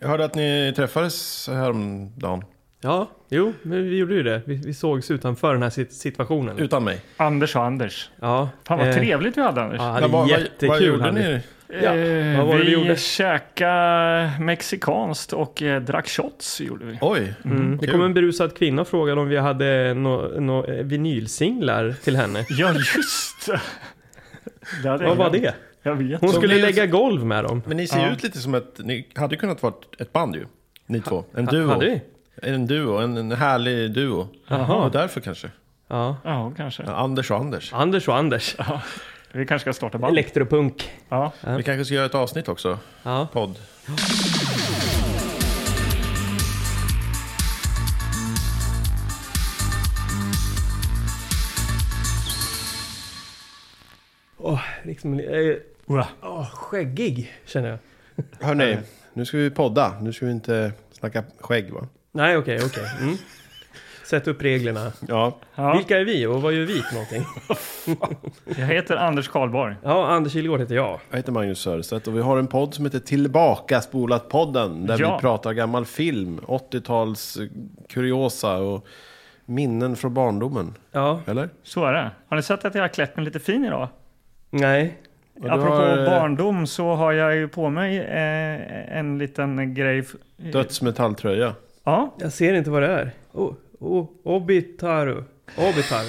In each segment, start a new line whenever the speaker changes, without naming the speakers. Jag hörde att ni träffades häromdagen.
Ja, jo, men vi gjorde ju det. Vi, vi sågs utanför den här sit- situationen.
Utan mig.
Anders och Anders.
ja.
Fan vad
eh,
trevligt vi hade Anders.
Ja,
Men
han
vad-
är
vad-
jättekul.
Vad gjorde
han är.
ni?
ja.
Eh,
Vad var det vi
vi
gjorde?
käkade mexikanskt och eh, drack shots gjorde vi.
Oj.
Mm. Det kom en berusad kvinna och frågade om vi hade några no, vinylsinglar till henne.
Ja just det. det. hade jag
Vad var
glömt.
det?
Jag vet.
Hon
Så
skulle
blir det-
lägga golv med dem.
Men ni ser
Ja.
ut lite som ett... Ni hade ju kunnat vara ett band ju. Ni två. En
Ha-
duo.
Hade vi?
En duo. En, en härlig duo. Och
Jaha.
därför kanske.
Ja.
Ja kanske.
Ja, Anders och Anders.
Anders och Anders.
Vi kanske ska starta band.
Elektropunk.
Ja.
Vi kanske ska göra ett avsnitt också.
Ja.
Podd.
Åh, liksom, eh,
Ura.
åh, skäggig känner jag.
Hörni, nu ska vi podda. Nu ska vi inte snacka skägg va?
Nej, okej, okej. Mm. Sätt upp reglerna.
Ja.
Ja,
Vilka är vi och vad gör vi för någonting?
jag heter Anders Karlborg.
Ja, Anders Kilgård heter jag.
Jag heter Magnus Sörestedt och vi har en podd som heter Tillbaka spolat podden där
Ja.
vi pratar gammal film, 80-tals eh, kuriosa och minnen från barndomen.
Ja,
Eller?
Så är det. Har ni sett att jag har klätt mig lite fin idag?
nej.
du
Apropå
har, eh,
barndom så har jag ju på mig eh, en liten grej. f-
Dödsmetalltröja.
Ja,
Jag ser inte vad det är. Oh, oh, Obitaru. Obitaru.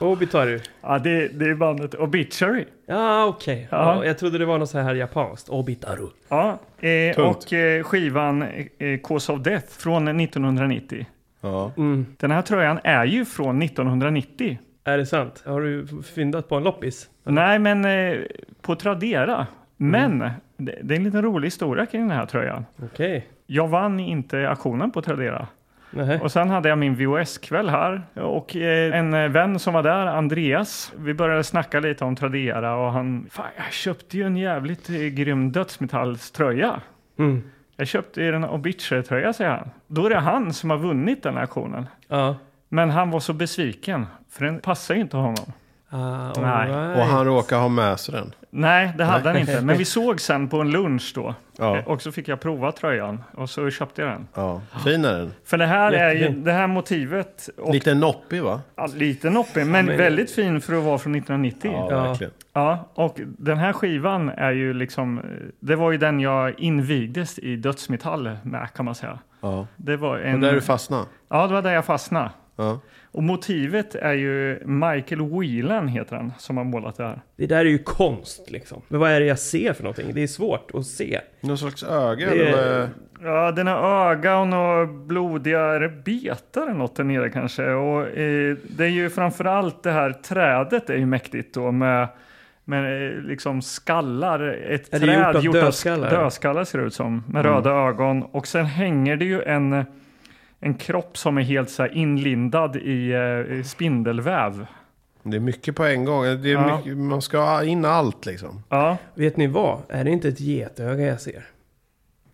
Obitaru.
ja det, det är bandet Obituary.
Ja, okej.
Ja.
Ja, jag trodde det var något så här japanskt. Obitaru.
Ja, eh,
Tungt.
och eh, skivan eh, Cause of Death från 1990.
Ja.
Mm.
Den här tröjan är ju från 1990.
Är det sant? Har du fyndat på en loppis?
Nej, men eh, på Tradera. Men det, det är en liten rolig historia kring den här tröjan.
Okej.
Jag vann inte auktionen på Tradera.
Nähä.
Och sen hade jag min VHS-kväll här och eh, en eh, vän som var där, Andreas, vi började snacka lite om Tradera och han, fan jag köpte ju en jävligt eh, grym dödsmetallströja.
Mm.
Jag köpte ju en Obituary-tröja säger han. Då är det han som har vunnit den här auktionen.
Ja.
Men han var så besviken, för den passar ju inte honom.
Ah, all
Nej.
right.
Och han råkar ha med sig den.
Nej, det hade han inte. Men vi såg sen på en lunch då.
Ja.
Eh, Och så fick jag prova tröjan och så köpte jag den.
ja. Fin är den.
För det här är ju,
Jättefin.
det här motivet, och
Lite noppig va?
ja, lite noppig, men
men-
väldigt fin för att vara från 1990.
Ja,
Ja.
verkligen.
Ja, och den här skivan är ju liksom, eh, det var ju den jag invigdes i dödsmetall med kan man säga.
Ja.
Det var
Och
en...
där du fastnade.
ja, det var där jag fastnade.
Ja.
Och motivet är ju Michael Whelan heter han som har målat det här.
Det där är ju konst liksom. Men vad är det jag ser för någonting? Det är svårt att se.
Någon slags öga
Det är-
eller? vad-
Ja, den har öga och några blodiga betar eller något där nere kanske. Och eh, det är ju framförallt det här trädet är ju mäktigt då med, med eh, liksom skallar. Ett
Är det
träd
gjort av
sk-
dödskallar? Mm.
dödskallar ser det ut som, med röda ögon. Och sen hänger det ju en, en kropp som är helt så här inlindad i eh, spindelväv.
Det är mycket på en gång. Det är
Ja.
mycket, man ska ha in allt liksom.
Ja,
Vet ni vad? Är det inte ett getöga jag ser?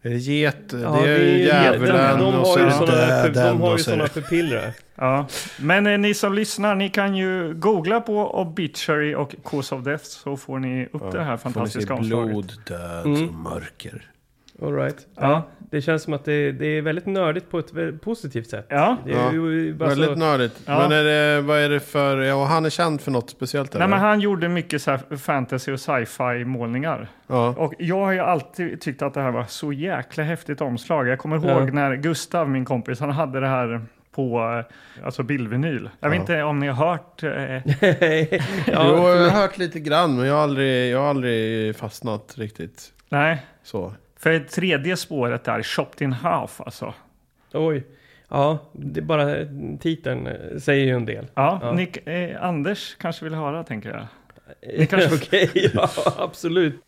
Är det get?
Ja,
det är
geten.
djävulen
de
och
har
så är
ju
det
såna där- De
döden
har ju
och så är
sådana
det...
pupiller.
ja. Men eh, ni som lyssnar, ni kan ju googla på Obituary och Cause of Death så får ni upp det här fantastiska
Får ni se
omslaget. Mm.
blod, död och mörker.
All right.
Ja.
Det känns som att det, det är väldigt nördigt på ett väldigt positivt sätt.
Ja.
Det är ju bara
Väldigt
så,
nördigt.
Alltså- Ja.
Men är det, vad är det för... Ja, och han är känd för något speciellt
Nej,
eller?
men han gjorde mycket så här fantasy och sci-fi målningar.
Ja.
Och jag har ju alltid tyckt att det här var så jäkla häftigt omslag. Jag kommer
Ja.
ihåg när Gustav, min kompis, han hade det här på eh, alltså bildvinyl. Jag vet
Ja.
inte om ni har hört. Eh,
jo,
ja,
jag har hört lite grann men jag har aldrig, jag har aldrig fastnat riktigt
nej,
så.
för det tredje spåret där, Chopped in half alltså.
oj. Ja, det är bara titeln eh, säger ju en del.
Ja,
Ja.
Ni, eh, Anders kanske vill höra tänker jag. kanske-
Okej, ja absolut.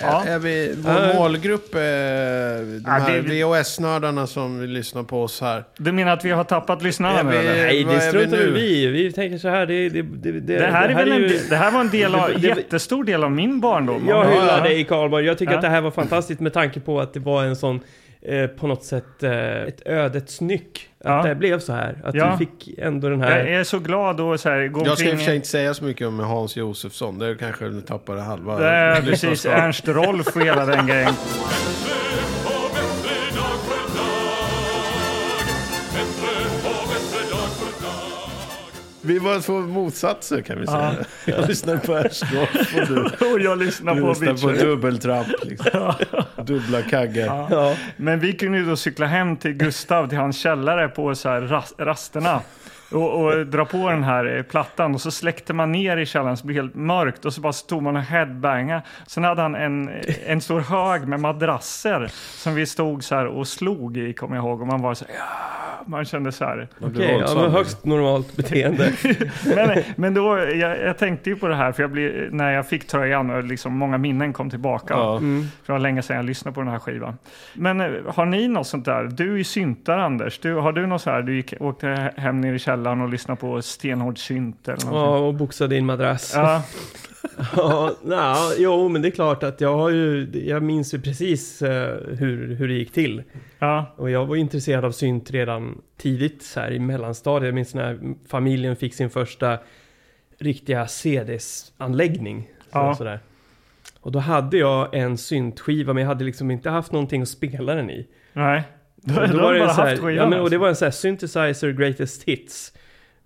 Ja. Äh.
Är, är vi, vår
Eh.
målgrupp är de
Ja, det
här
är vi-
VHS-nördarna som vill lyssna på oss här.
Du menar att vi har tappat lyssnarna
Är
nu
vi-
eller?
Nej,
vad
det
är vi
struntar
nu?
väl vi i. Vi tänker så här, det, det, det, det,
Det här, är väl en,
ju-
del- det här var en del av,
Det- det-
jättestor del av min barndom.
Jag
Ja, ja.
hyllar dig Karlborg. Jag tycker
Ja.
att det här var fantastiskt med tanke på att det var en sån eh, på något sätt eh, ett ödets nyck. Att
Ja.
det blev så här. Att
Ja.
vi fick ändå den
Jag
här...
är så glad och så här, går
Jag ska i och för sig
omkring...
inte säga så mycket om Hans Josefsson. Det kanske ni tappade halva
Det är precis
lyssnarskap.
Ernst Rolf och hela den grejen.
Vi var två motsatser kan vi
Ja.
säga. Jag lyssnar på Ernst Rolf och du,
Och jag lyssnar
du
på
lyssnar på
Beach
dubbeltramp. Liksom. Dubbla kaggar.
Ja.
Ja.
Men vi kunde ju då cykla hem till Gustav, till hans källare på så här ras- rasterna. Och, och dra på den här eh, plattan och så släckte man ner i källaren så det blev helt mörkt och så bara stod man och headbangade. Sen hade han en, eh, en stor hög med madrasser som vi stod så här och slog i kommer jag ihåg och man var så här, ja, man kände så här.
Man blir
Okej, ja,
våldsam.
men högst normalt beteende.
Men, eh, men då, jag, jag tänkte ju på det här för jag blev, när jag fick tröjan och liksom många minnen kom tillbaka.
Ja.
För det var länge sedan jag lyssnade på den här skivan. Men eh, har ni något sånt där? Du är ju syntare Anders. Du, har du något så här? Du gick, åkte hem ner i källaren och lyssnade på stenhård synt eller något?
Ja, och boxade in madrass.
Ja,
Ja, na, jo, men det är klart att jag har ju... Jag minns ju precis eh, hur, hur det gick till.
ja,
Och jag var intresserad av synt redan tidigt så här i mellanstadiet. Jag minns när familjen fick sin första riktiga CD-anläggning. Så,
Ja.
sådär. Och då hade jag en syntskiva men jag hade liksom inte haft någonting att spela den i.
nej. Då,
Och
då, har
det
du bara
så här-
haft skivan.
ja, men, Och
alltså.
det var en sån här synthesizer greatest hits.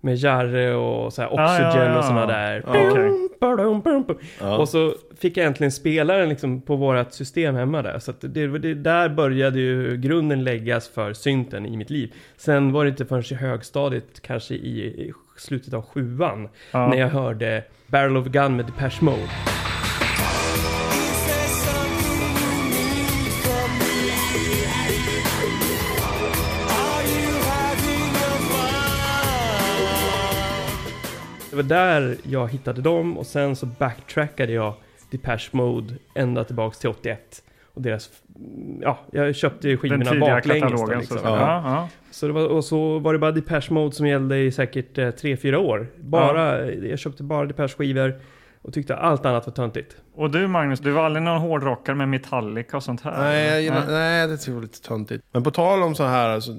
Med Jarre och så här
Ah, ja,
Oxygen
ja.
och såna där.
Ja.
Pum, padum, pum, pum.
Ja.
Och så fick jag äntligen spela den liksom på vårat system hemma där. Så att det, det, där började ju grunden läggas för synten i mitt liv. Sen var det inte förrän i högstadiet, kanske i, i slutet av sjuan,
Ja.
när jag hörde Barrel of a Gun med Depeche Mode. Det var där jag hittade dem och sen så backtrackade jag Depeche Mode ända tillbaks till 81. Och deras, ja, jag köpte ju
den
skivorna
tidiga
baklänges.
katalogen.
då,
så-
Liksom.
så- ja. Ja,
Så det var, och så var det bara Depeche Mode som gällde i säkert eh, tre fyra år. Bara, Jag köpte bara Depeche skivor och tyckte allt annat var töntigt.
Och du Magnus, du var aldrig någon hårdrockare med Metallica och sånt här?
Nej, jag
Nej.
gillar, nej, det tycker jag var lite töntigt. Men på tal om så här, alltså,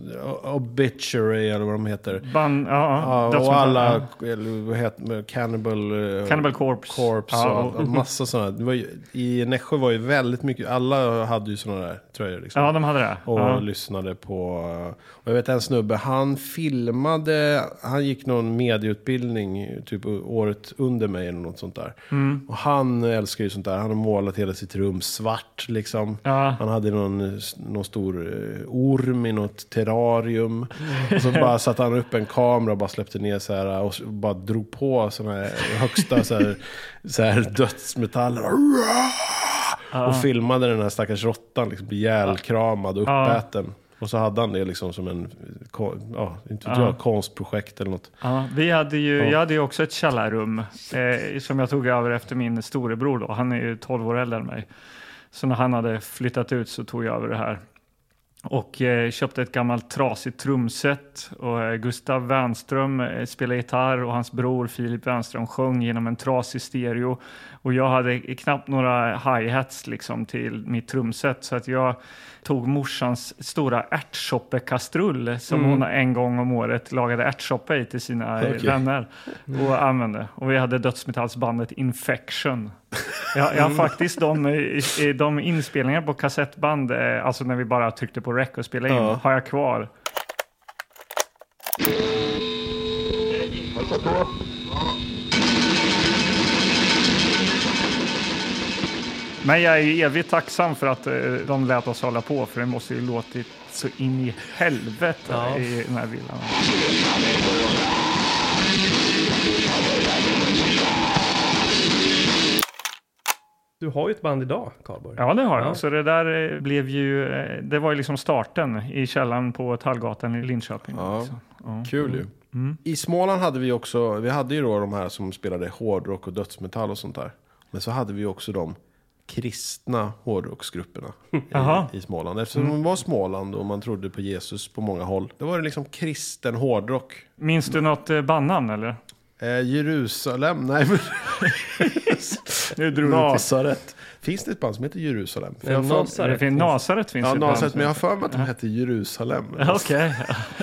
obituary eller vad de heter.
Band, ja, ja,
Ja, och
dödsmetall,
alla,
ja.
eller vad heter Cannibal... eh,
Cannibal Corpse.
Corps
Ja,
och, och massa sådana. Det var ju, I Nässjö var ju väldigt mycket, alla hade ju sådana där tröjor. Liksom.
Ja, de hade det.
och
ja.
lyssnade på... Och jag vet en snubbe, han filmade, han gick någon medieutbildning typ året under mig eller något sånt där.
Mm.
Och han älskar ju sånt där, han har målat hela sitt rum svart liksom.
Ja.
Han hade någon, någon stor eh, orm i något terrarium. Och så bara satte han upp en kamera och bara släppte ner så här och så bara drog på såna här högsta så här, så här dödsmetaller. Och filmade den här stackars råttan liksom ihjälkramad och
Ja.
uppäten. Och så hade han det liksom som en kon- ja, inte vet
Ja.
jag, konstprojekt eller något.
Ja, vi hade ju, Jag hade ju också ett källarrum eh, som jag tog över efter min storebror. Då. Han är ju 12 år äldre än mig. Så när han hade flyttat ut så tog jag över det här. Och eh, köpte ett gammalt trasigt trumset. Och, eh, Gustav Wernström eh, spelade gitarr och hans bror Filip Wernström sjöng genom en trasig stereo. Och jag hade knappt några hi-hats liksom, till mitt trumset. Så att jag tog morsans stora ärtsoppekastrull som hon en gång om året lagade ärtsoppa i till sina eh,
Okej.
vänner. Och använde. Och vi hade dödsmetallsbandet Infection. Jag, jag har faktiskt de, eh, de inspelningar på kassettband, eh, alltså när vi bara tryckte på rec och spelade in,
Ja.
har jag kvar. Men jag är ju evigt tacksam för att eh, de lät oss hålla på, för det måste ju låtit så in i helvete
Ja.
i den här villan.
Du har ju ett band idag, Karlborg.
Ja, det har jag.
Ja.
Så det där eh, blev ju, eh, det var ju liksom starten i källaren på Tallgatan i Linköping.
Ja.
Liksom.
Kul ju.
Mm.
I Småland hade vi också, vi hade ju då de här som spelade hårdrock och dödsmetall och sånt där. Men så hade vi också de kristna hårdrocksgrupperna
Jaha.
i, i Småland. Eftersom
Mm.
de var Småland och man trodde på Jesus på många håll. Då var det liksom kristen hårdrock.
Minns du något eh, bandnamn eller?
Eh, Jerusalem? Nej, men
Nu drog du till-
Nasaret. Finns det ett band som heter Jerusalem? För
Ja,
jag har för-
Nasaret.
Det finns- Eh, Nasaret finns
Ja,
ju ett band
Nasaret,
som-
men jag har för mig att de hette Jerusalem.
Okej.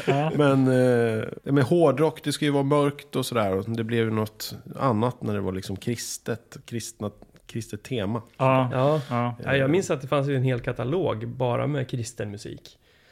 Ja.
Men eh, med hårdrock, det ska ju vara mörkt och sådär. Och Det blev ju något annat när det var liksom kristet, kristna, kristet tema.
Ja.
Ja.
Ja.
Ja, jag minns att det fanns ju en hel katalog bara med kristen musik.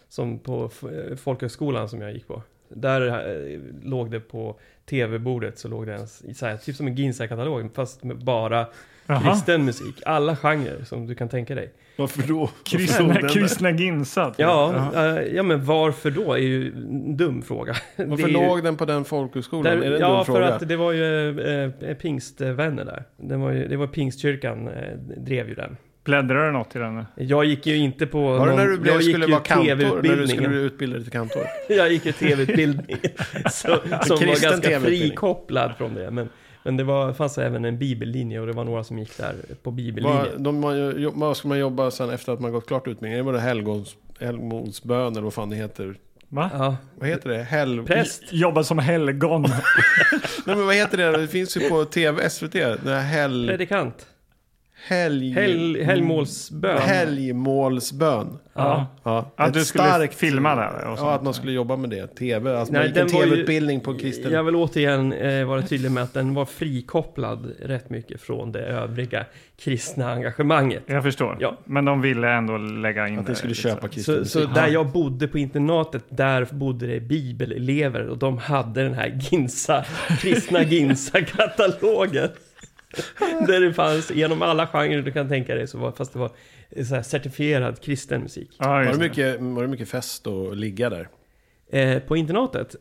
Som på f- eh, folkhögskolan som jag gick på. Där eh, låg det på tv-bordet så låg det en, s- så här, typ som en Ginsa-katalog fast med bara
Jaha.
kristen musik. Alla genrer som du kan tänka dig.
Varför då?
Kristna, kristna Ginsa. typ.
Ja, eh, ja men varför då är ju en dum fråga. Det
Varför
är ju-
låg den på den folkhögskolan?
där,
är det en
ja,
dum
för
fråga?
att det var ju eh, eh, pingstvänner där. Det var, ju, det var pingstkyrkan eh, drev ju den.
Bläddrar du något i den? nu?
Jag gick ju inte på
Var det när du blev,
jag gick
skulle
ju
vara kantor? När du skulle
TV-utbildningen.
bli utbildad till kantor?
Jag gick ju tv-utbildning så, som
Kristen
var ganska
TV-utbildning.
frikopplad från det. Men, men det var, fanns även en bibellinje och det var några som gick där på bibellinjen.
Vad- de, man, ju- vad ska man jobba sen efter att man gått klart utbildningen? Är det bara helgons, helgonsbön eller vad fan det heter?
Va?
Ja,
Vad heter det? Helg...
präst.
Jobbar som helgon.
Nej men vad heter det? Det finns ju på TV, SVT. Den här helg...
Predikant.
Helg...
Helg, helgmålsbön.
Helgmålsbön.
Ja.
Ja,
Ja,
ett
du skulle filma det och
ja,
sånt.
att man skulle jobba med det. TV. Alltså
Nej,
man gick en
den var ju-
TV-utbildning på kristen...
Eh, Jag vill återigen eh, vara tydlig med att den var frikopplad rätt mycket från det övriga kristna engagemanget.
Jag förstår.
Ja.
Men de ville ändå lägga
Att
in
ni
det liksom.
skulle
lite så
köpa
här.
kristen
Så,
musik.
så där jag bodde på internatet, där bodde det bibelelever och de hade den här Ginsa, kristna Ginsa-katalogen. Där det fanns, genom alla genrer du kan tänka dig, så var, fast det var eh, så här certifierad kristen musik.
Ja,
Var
just
det,
det.
mycket, var det mycket fest och ligga där?
Eh, på internatet?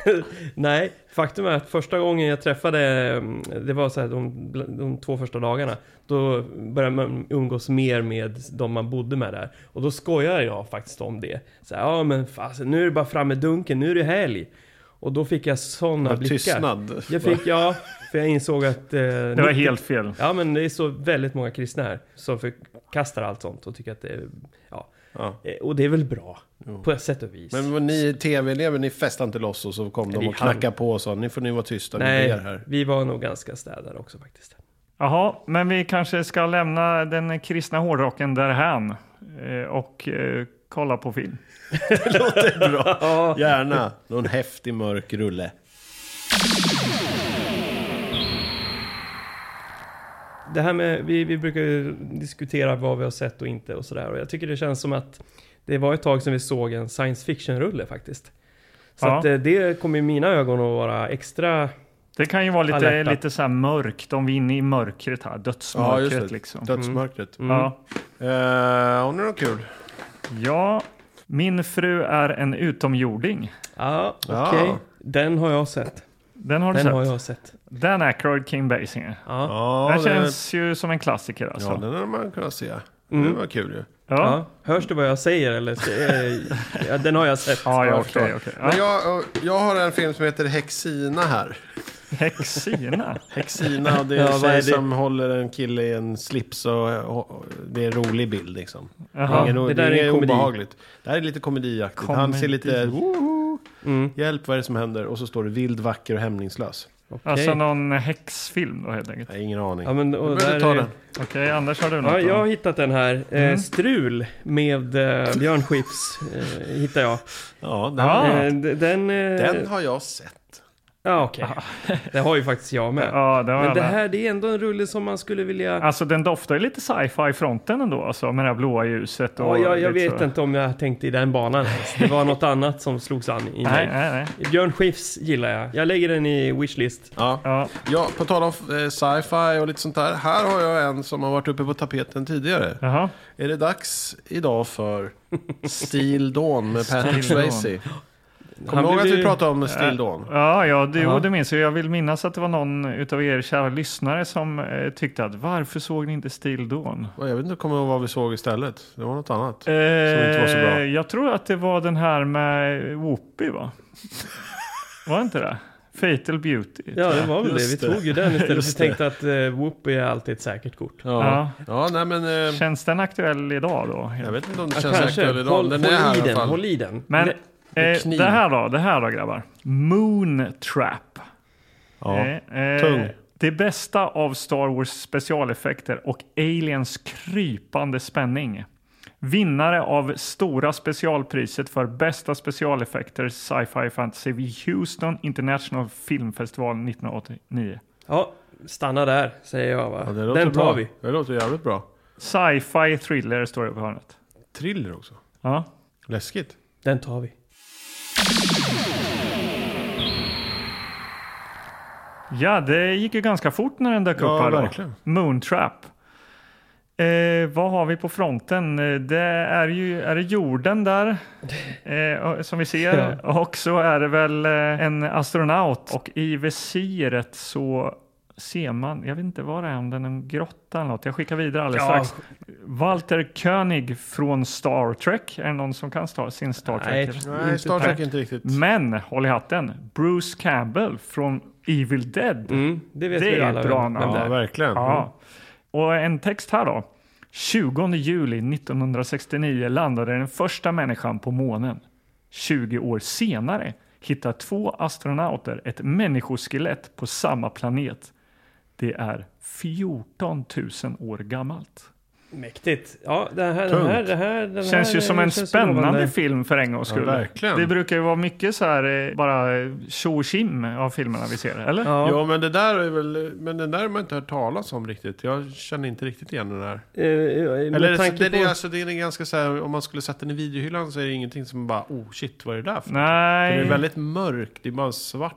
Nej, faktum är att första gången jag träffade, mm, det var så här de, de två första dagarna, då började man umgås mer med de man bodde med där. Och då skojade jag faktiskt om det. Så här, ja men fasen, nu är det bara fram med dunken, nu är det helg. Och då fick jag sådana
Var det
blickar.
tystnad?
Jag fick, ja, för jag insåg att... Eh,
Det var helt fel.
Ja men det är så väldigt många kristna här som förkastar allt sånt och tycker att det är, ja.
Ja.
Eh, Och det är väl bra, på ett sätt och vis.
Men var ni tv-elever, ni festade inte loss och så kom
vi
de och
hann.
knackade på och sa nu får ni vara tysta, vi ber
Nej,
här.
vi var nog ganska städade också faktiskt.
Jaha, men vi kanske ska lämna den kristna hårdrocken därhän eh, och eh, kolla på film.
Gärna någon häftig mörk rulle.
Det här med, vi, vi brukar ju diskutera vad vi har sett och inte och sådär. Och jag tycker det känns som att det var ett tag sedan vi såg en science fiction-rulle faktiskt. Så
Ja.
att eh, det kommer i mina ögon att vara extra...
Det kan ju vara lite,
Alerta.
lite så här mörkt, om vi är inne i mörkret här,
Ja,
dödsmörkret
just det.
liksom.
Dödsmörkret.
Mm.
Ja.
Eh, har ni något kul?
ja, min fru är en utomjording.
Ja,
Ja.
okej. Den har jag sett.
Den har du
Den
sett?
har jag sett.
Dan Aykroyd, Kim Basinger.
Ja.
Ja,
den
det-
känns ju som en klassiker alltså.
Ja, den hade man kunnat se. Det
Mm.
var kul ju.
Ja.
Ja,
Hörs det vad jag säger eller? ska- eh, ja, den har jag sett.
ja, ja
jag
okej.
förstår.
okej.
Men
Ja.
jag, jag har en film som heter Hexina här.
Hexina.
Hexina, det är
Ja,
en
vad
tjej
är det?
som håller en kille i en slips och, och det är en rolig bild liksom.
Jaha.
det, är
det
det,
där är
är
en
inget
komedi. Oh.
obehagligt. Det här är lite komediaktigt. Han ser lite, "Woho,
Mm.
hjälp vad är det som händer? Och så står det vild, vacker och hämningslös.
Okej.
Alltså någon häxfilm då helt enkelt.
Jag har ingen aning.
Ja, men,
du
och
behöver
där
inte ta
är-
den.
Okej, Anders har du något?
Ja,
då?
jag har hittat den här. Eh, Strul med eh, Björn Skifs eh, hittar jag.
Ja, den,
Ja. Ah.
Eh, d- den... Eh,
den har jag sett.
Ja, okej. Det har ju faktiskt jag med.
Ja, det har
Men
jag
det
med.
här, det är ändå en rulle som man skulle vilja...
Alltså den doftar ju lite sci-fi i fronten ändå, alltså med det här blåa ljuset. Och
Ja, jag, jag
lite
vet
så.
inte om jag tänkte i den banan ens. Det var något annat som slogs an i
Nej,
mig.
nej, nej.
Björn Skifs gillar jag. Jag lägger den i wishlist.
Ja.
Ja,
ja, på tal om eh, sci-fi och lite sånt där. Här har jag en som har varit uppe på tapeten tidigare.
jaha.
Är det dags idag för Steel Dawn med Patrick
Steel Dawn.
Swayze? Kommer
Han
du ihåg att
blev
vi
ju-
pratade om Steel Dawn?
Ja, ja, det, jo,
Ja.
det minns jag. Jag vill minnas att det var någon utav er kära lyssnare som eh, tyckte att varför såg ni inte Steel Dawn?
Jag vet inte kommer jag ihåg vad vi såg istället. Det var något annat.
Eh,
inte var så bra.
Jag tror att det var den här med Whoopi va? Var det inte det? Fatal Beauty.
Ja, det var väl det. Vi
Just det.
tog ju den istället. Vi
Just det.
tänkte att uh, Whoopi är alltid ett säkert kort.
Ja. ja, nej men... eh,
Känns den aktuell idag då?
Jag vet inte om
Ja,
det känns aktuellt idag.
Håll,
Den
håll,
är här
i
i alla
den,
fall.
håll i den.
Men
Nej,
eh,
kniv.
det här då, det här då grabbar. Moon Trap.
Ja.
Eh, eh,
Tung.
Det bästa av Star Wars specialeffekter och aliens krypande spänning. Vinnare av stora specialpriset för bästa specialeffekter sci-fi fantasy vid Houston International Filmfestival 1989.
Ja, stanna där, säger jag va.
Ja, det låter
den tar
bra.
vi.
Det låter jävligt bra.
Sci-fi thriller står det på hörnet.
Thriller också.
Ja.
Läskigt.
Den tar vi.
ja, det gick ju ganska fort när den dök
Ja,
upp här
verkligen.
då. Moontrap. Eh, vad har vi på fronten? Eh, Det är ju är det jorden där eh, och- som vi ser och så är det väl eh, en astronaut och i visiret så ser man, jag vet inte vad det är, om det är en grotta eller något. Jag skickar vidare alldeles
Ja.
strax. Walter Koenig från Star Trek. Är det någon som kan star, sin Star Trek?
Nej,
Nej, Star Trek är inte riktigt.
Men håll i hatten, Bruce Campbell från Evil Dead.
Mm, det vet
Det
vi ju
är
alla vem,
bra
vem
namn.
det
Ja,
är.
verkligen.
Ja. Och en text här då. 20 juli 1969 landade den första människan på månen. 20 år senare hittar två astronauter ett människoskelett på samma planet. Det är 14 000 år gammalt.
Mäktigt. Ja, det här, den här,
Tungt.
det här, den här
Känns ju som en
känns
spännande
lovande.
film för en gångs
Ja,
skull.
verkligen.
det brukar ju vara mycket så här eh, bara eh, tjo och tjim av filmerna vi ser, eller?
Ja,
Ja, men det där är väl... Men den där har man inte hört talas om riktigt. Jag känner inte riktigt igen den här.
eh, eh, med
Eller det,
tanke
det, det,
på-
är alltså, det är en ganska så här, om man skulle sätta den i videohyllan så är det ingenting som bara, oh shit, vad är det där för? Det
Nej.
är väldigt mörkt, det är bara svart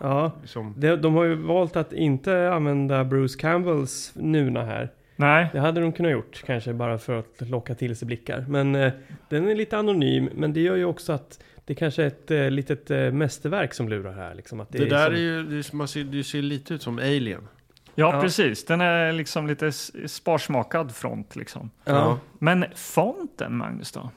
Ja,
liksom.
det, de har ju valt att inte använda Bruce Campbells nuna här.
Nej.
Det hade de kunnat gjort kanske bara för att locka till sig blickar. Men eh, den är lite anonym, men det gör ju också att det kanske är ett eh, litet eh, mästerverk som lurar här. Liksom, att det
Det, där
som,
är ju, det, är som- man ser, det ser lite ut som Alien.
Ja,
Ja.
precis. Den är liksom lite s- sparsmakad front liksom.
Ja.
Men fonten, Magnus då?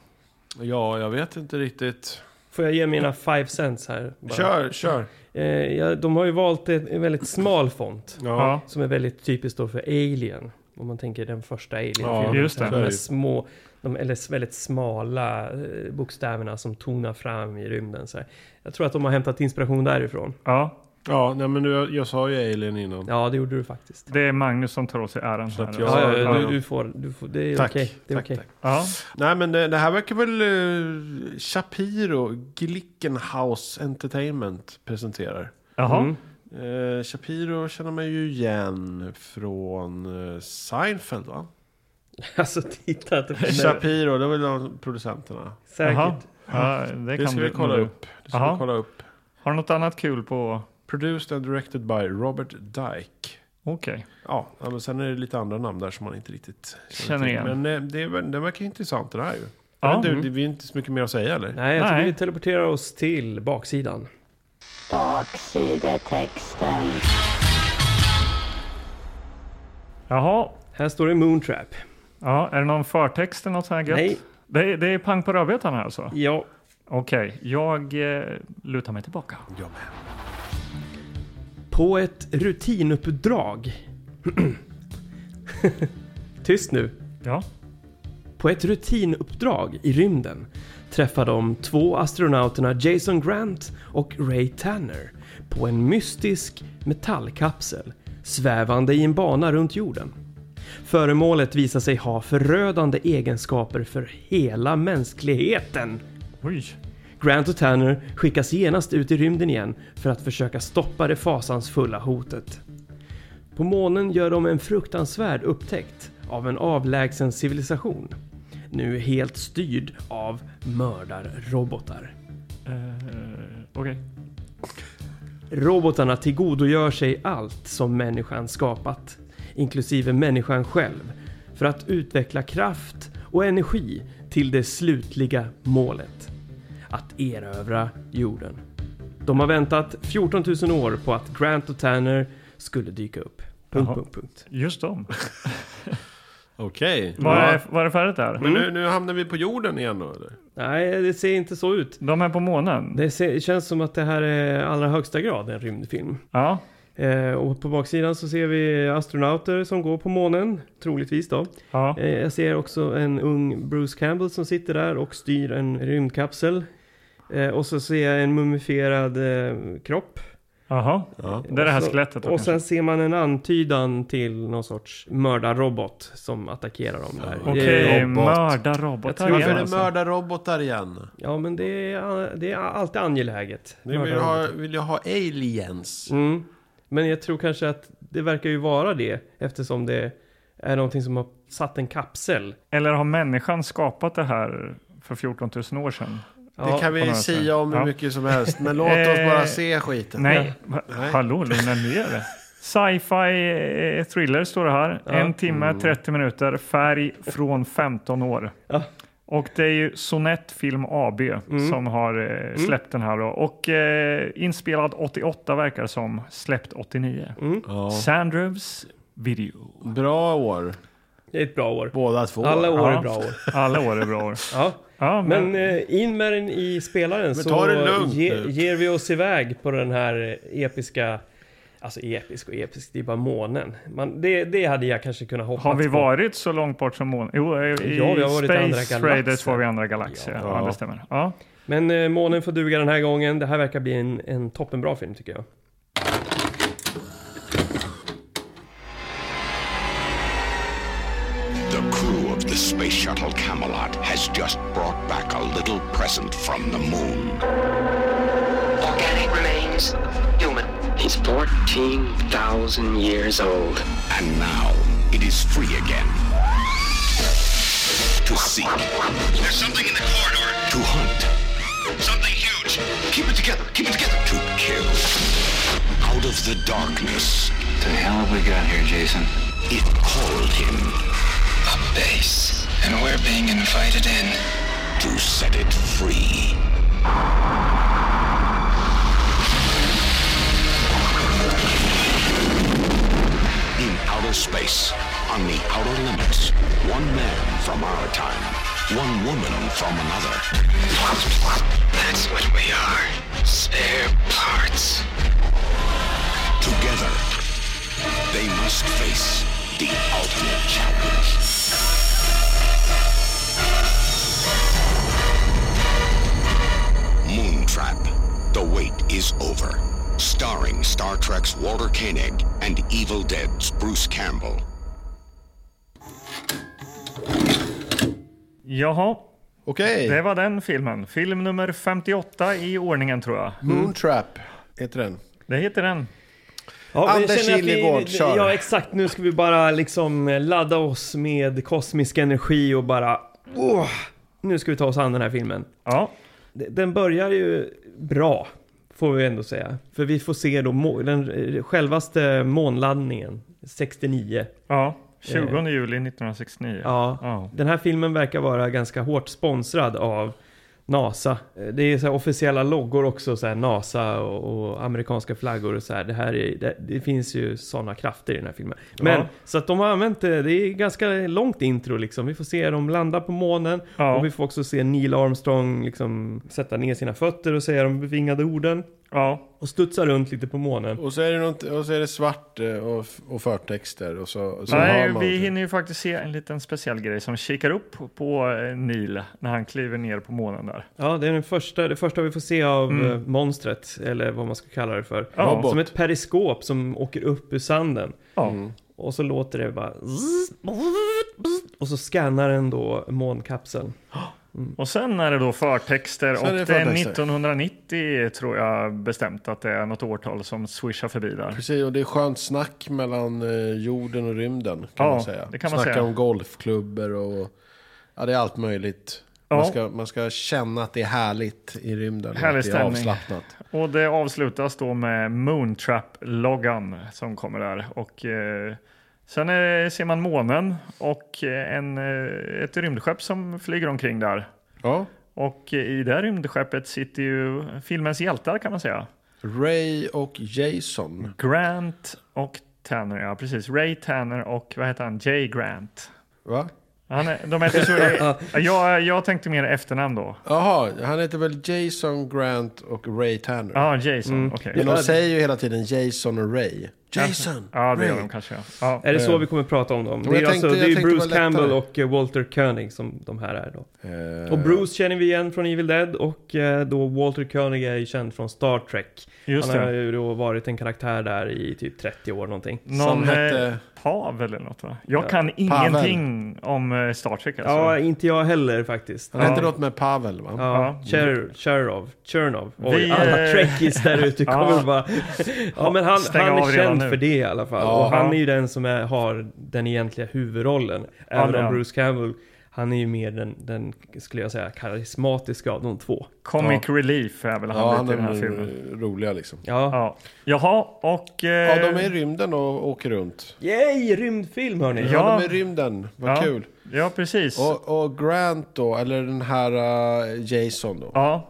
Ja, jag vet inte riktigt.
Får jag ge mina five cents här? bara?
Kör, kör.
Eh, ja, de har ju valt en en väldigt smal font.
Ja.
Som är väldigt typiskt då för Alien. Om man tänker den första Alien-filmen.
Ja,
just
Så här,
det.
De här små, de, eller s- väldigt smala eh, bokstäverna som tonar fram i rymden. Så här. Jag tror att de har hämtat inspiration därifrån.
Ja,
Ja, nej men du, jag, jag sa ju Alien innan.
Ja, det gjorde du faktiskt.
det är Magnus som tar åt sig äran.
Så
Här.
att
Ja,
jag-
ja, ja,
ja.
Du, du, får, du får, det är
Tack.
okej. Det är
Tack,
okej.
tack.
ja.
Nej men det, det här verkar väl eh, Shapiro, Glickenhaus Entertainment presenterar.
Jaha.
Mm.
Eh, Shapiro känner man ju igen från eh, Seinfeld va?
Alltså titta. att det-
Shapiro, det var väl de producenterna.
Säkert.
Jaha. Ja, det,
Det
kan
ska
du,
vi kolla
du-
upp. Det ska
Jaha.
vi kolla upp.
Har du något annat kul på?
Produced and directed by Robert Dyke.
Okej.
Ja, ja, men sen är det lite andra namn där som man inte riktigt
Känner
till.
igen.
Men eh, det, är väl- den verkar ju intressant den här ju.
Ja. Mm.
Ja. Det, det, vi är inte så mycket mer att säga eller?
Nej, jag
Nej.
tycker vi teleporterar oss till baksidan.
Baksidetexten.
Jaha.
Här står det Moontrap.
Ja, är det någon förtext eller något så här gött?
Nej,
Det, är- det är pang på rödbetan här alltså?
ja.
Okej, jag eh, lutar mig tillbaka.
På ett rutinuppdrag. Tyst nu.
Ja.
På ett rutinuppdrag i rymden träffar de två astronauterna Jason Grant och Ray Tanner på en mystisk metallkapsel svävande i en bana runt jorden. Föremålet visar sig ha förödande egenskaper för hela mänskligheten.
Oj.
Grant och Tanner skickas genast ut i rymden igen för att försöka stoppa det fasansfulla hotet. På månen gör de en fruktansvärd upptäckt av en avlägsen civilisation. Nu helt styrd av mördarrobotar.
Eh, Okej.
Robotarna tillgodogör sig allt som människan skapat, inklusive människan själv, för att utveckla kraft och energi till det slutliga målet. Att erövra jorden. De har väntat 14 000 år på att Grant och Tanner skulle dyka upp. Punkt,
Jaha.
punkt, punkt.
Just dem.
Okej.
Var,
Ja.
är, Mm. var är färdigt där?
Men nu, nu hamnar vi på jorden igen då eller?
Nej, det ser inte så ut.
De är på månen?
Det ser, känns som att det här är i allra högsta grad en rymdfilm.
Ja.
Eh, och på baksidan så ser vi astronauter som går på månen, troligtvis då.
ja.
Eh, jag ser också en ung Bruce Campbell som sitter där och styr en rymdkapsel. Eh, och så ser jag en mumifierad eh, kropp.
Jaha.
Ja.
Det är det här
Och så-
skelettet då
Och
kanske?
sen ser man en antydan till någon sorts mördarrobot som attackerar dem där.
Ja.
Okej,
Eh, robot.
mörda
Jag
robotar
tror-
Varför
igen
är det
alltså.
mördarrobotar igen?
Ja, men det är, det är alltid angeläget.
Nu vill jag ha, vill jag ha aliens.
Mm. Men jag tror kanske att det verkar ju vara det eftersom det är någonting som har satt en kapsel.
Eller har människan skapat det här för 14 000 år sedan?
Ja,
det kan
på
vi
något sätt.
sia om hur
Ja.
mycket som helst. Men låt oss
Eh,
bara se skiten.
Nej, Va-
Nej.
hallå, lugna ner dig. Sci-fi eh, thriller står det här.
Ja. Mm.
En timme, 30 minuter, färg från 15 år.
Ja. Mm.
Och det är ju Sonett Film AB som har eh, släppt den här då. Och eh, inspelad 88 verkar det som, släppt 89.
Mm.
Ja.
Sandrövs video.
Bra år.
det är ett bra år.
Båda två.
Alla år är
Ja.
bra år.
Alla år är bra år.
Ja.
Ja, men,
Men eh, in med den i spelaren
Men
så
ta det lugnt
ge,
nu.
ger vi oss iväg på den här eh, episka Alltså episk och episk, det är bara månen. Man, det, det hade jag kanske kunnat hoppas
har vi
på.
varit så långt bort som månen? Jo, eh, i
vi har varit i andra
Space
galaxer.
Raiders var vi i andra galaxer. Ja.
Ja.
det stämmer. Ja.
Men eh, månen får duga den här gången. Det här verkar bli en, en toppenbra film tycker jag.
The crew of the space shuttle Camelot has just brought back a little present from the moon.
Organic remains human.
He's 14,000 years old.
And now it is free again. To seek. There's something in the corridor. To hunt. Something huge. Keep it together. Keep it together. To kill. Out of the darkness,
The hell have we got here, Jason?
it called him
A base. And we're being invited in.
to set it free. In outer space, on the outer limits, one man from our time, one woman from another.
That's what we are. Spare parts.
Together, they must face the ultimate challenge. Moontrap, the wait is over. Starring Star Trek's Walter Koenig and Evil Dead's Bruce Campbell.
Jaha,
Okej.
det var den filmen. Film nummer 58 i ordningen tror jag.
Moontrap heter den.
Det heter den.
Ja,
Anders
jag känner att vi-
Kiljegård, kör.
Ja, exakt. Nu ska vi bara liksom ladda oss med kosmisk energi och bara... Åh, nu ska vi ta oss an den här filmen.
Ja,
D- Den börjar ju bra, får vi ändå säga. För vi får se då må- den eh, självaste månlandningen, 69.
ja. 20 juli 1969.
Eh. Ja.
Ja.
Den här filmen verkar vara ganska hårt sponsrad av NASA. Eh, Det är så här officiella loggor också, så här NASA och, och amerikanska flaggor och så här. Det, här är, det, det finns ju sådana krafter i den här filmen. Men
Ja.
så att de har använt eh, det, det är ganska långt intro liksom. Vi får se dem landa på månen
Ja.
och vi får också se Neil Armstrong liksom sätta ner sina fötter och säga de bevingade orden
Ja.
och studsa runt lite på månen.
Och så är det, något, och så är det svart eh, och, och förtexter. Och så, och så har
Nej,
man
vi hinner ju faktiskt se en liten speciell grej som kikar upp på eh, Neil när han kliver ner på månen där.
Ja, det är den första, det första vi får se av eh, monstret, eller vad man ska kalla det för.
Mm. Ja.
Som ett periskop som åker upp ur sanden.
Ja.
Mm.
Och så låter det bara... zzz, bzz, Och så scannar den då månkapseln.
Och sen är det då förtexter
Sen är
och
det
det är
förtexter.
1990 tror jag bestämt att det är något årtal som swishar förbi där.
Precis, och det är skönt snack mellan eh, jorden och rymden. Kan
Ja,
man säga.
det kan man
Snackar
säga.
om golfklubbor och... Ja, det är allt möjligt.
Ja.
Man, ska, man ska känna att det är härligt i rymden. och
Härlig
att det är
stämning.
avslappnat.
Och det avslutas då med Moontrap-loggan som kommer där. Och eh, sen eh, ser man månen och eh, en, eh, ett rymdskepp som flyger omkring där.
Ja.
Och eh, i det här rymdskeppet sitter ju filmens hjältar kan man säga.
Ray och Jason.
Grant och Tanner, ja precis. Ray Tanner och vad heter han? Jay Grant.
Va?
Han är, de heter så, jag, jag tänkte mer efternamn då.
Jaha, han heter väl Jason Grant och Ray Tanner.
Ja, ah, Jason. Okej.
Men de säger ju hela tiden Jason och Ray. Jason!
Ja, det
Ray.
gör de kanske. Ja. Ja.
Är det så vi kommer prata om dem?
Mm. jag
Det är,
tänkte-
alltså,
jag
det är ju
tänkte
Bruce
det var lättare.
Campbell och eh, Walter Koenig som de här är då.
Eh,
Och Bruce känner vi igen från Evil Dead och eh, då Walter Koenig är ju känd från Star Trek.
Just
han har
det.
ju då varit en karaktär där i typ 30 år någonting.
Någon
hette-
eh, Pavel eller något va? Jag kan ingenting om eh, Star Trek alltså.
Ja, inte jag heller faktiskt.
Han hette något med Pavel, va?
Ja,
Ja.
Cher- Cherov, Chernov. Oj,
Vi,
alla
eh,
trekkies där ute kommer
Ja.
bara... Ja, men han,
Stäng
han
av
är
redan
känd
nu.
för det i alla fall.
Ja.
Och han är ju den som är, har den egentliga huvudrollen. Även
det är
om
han.
Bruce Campbell, han är ju mer den, den, skulle jag säga, karismatiska av de två.
Comic Relief är väl han
Ja, han
lite
är
i den
den
här filmen.
roliga liksom.
Ja.
Ja. Jaha, och... Eh,
Ja, de är i rymden och åker runt.
Yay, rymdfilm hörni!
Ja,
Ja.
de är i rymden. Vad
ja,
kul.
Ja, precis.
Och, och Grant då, eller den här eh, Jason då,
Ja,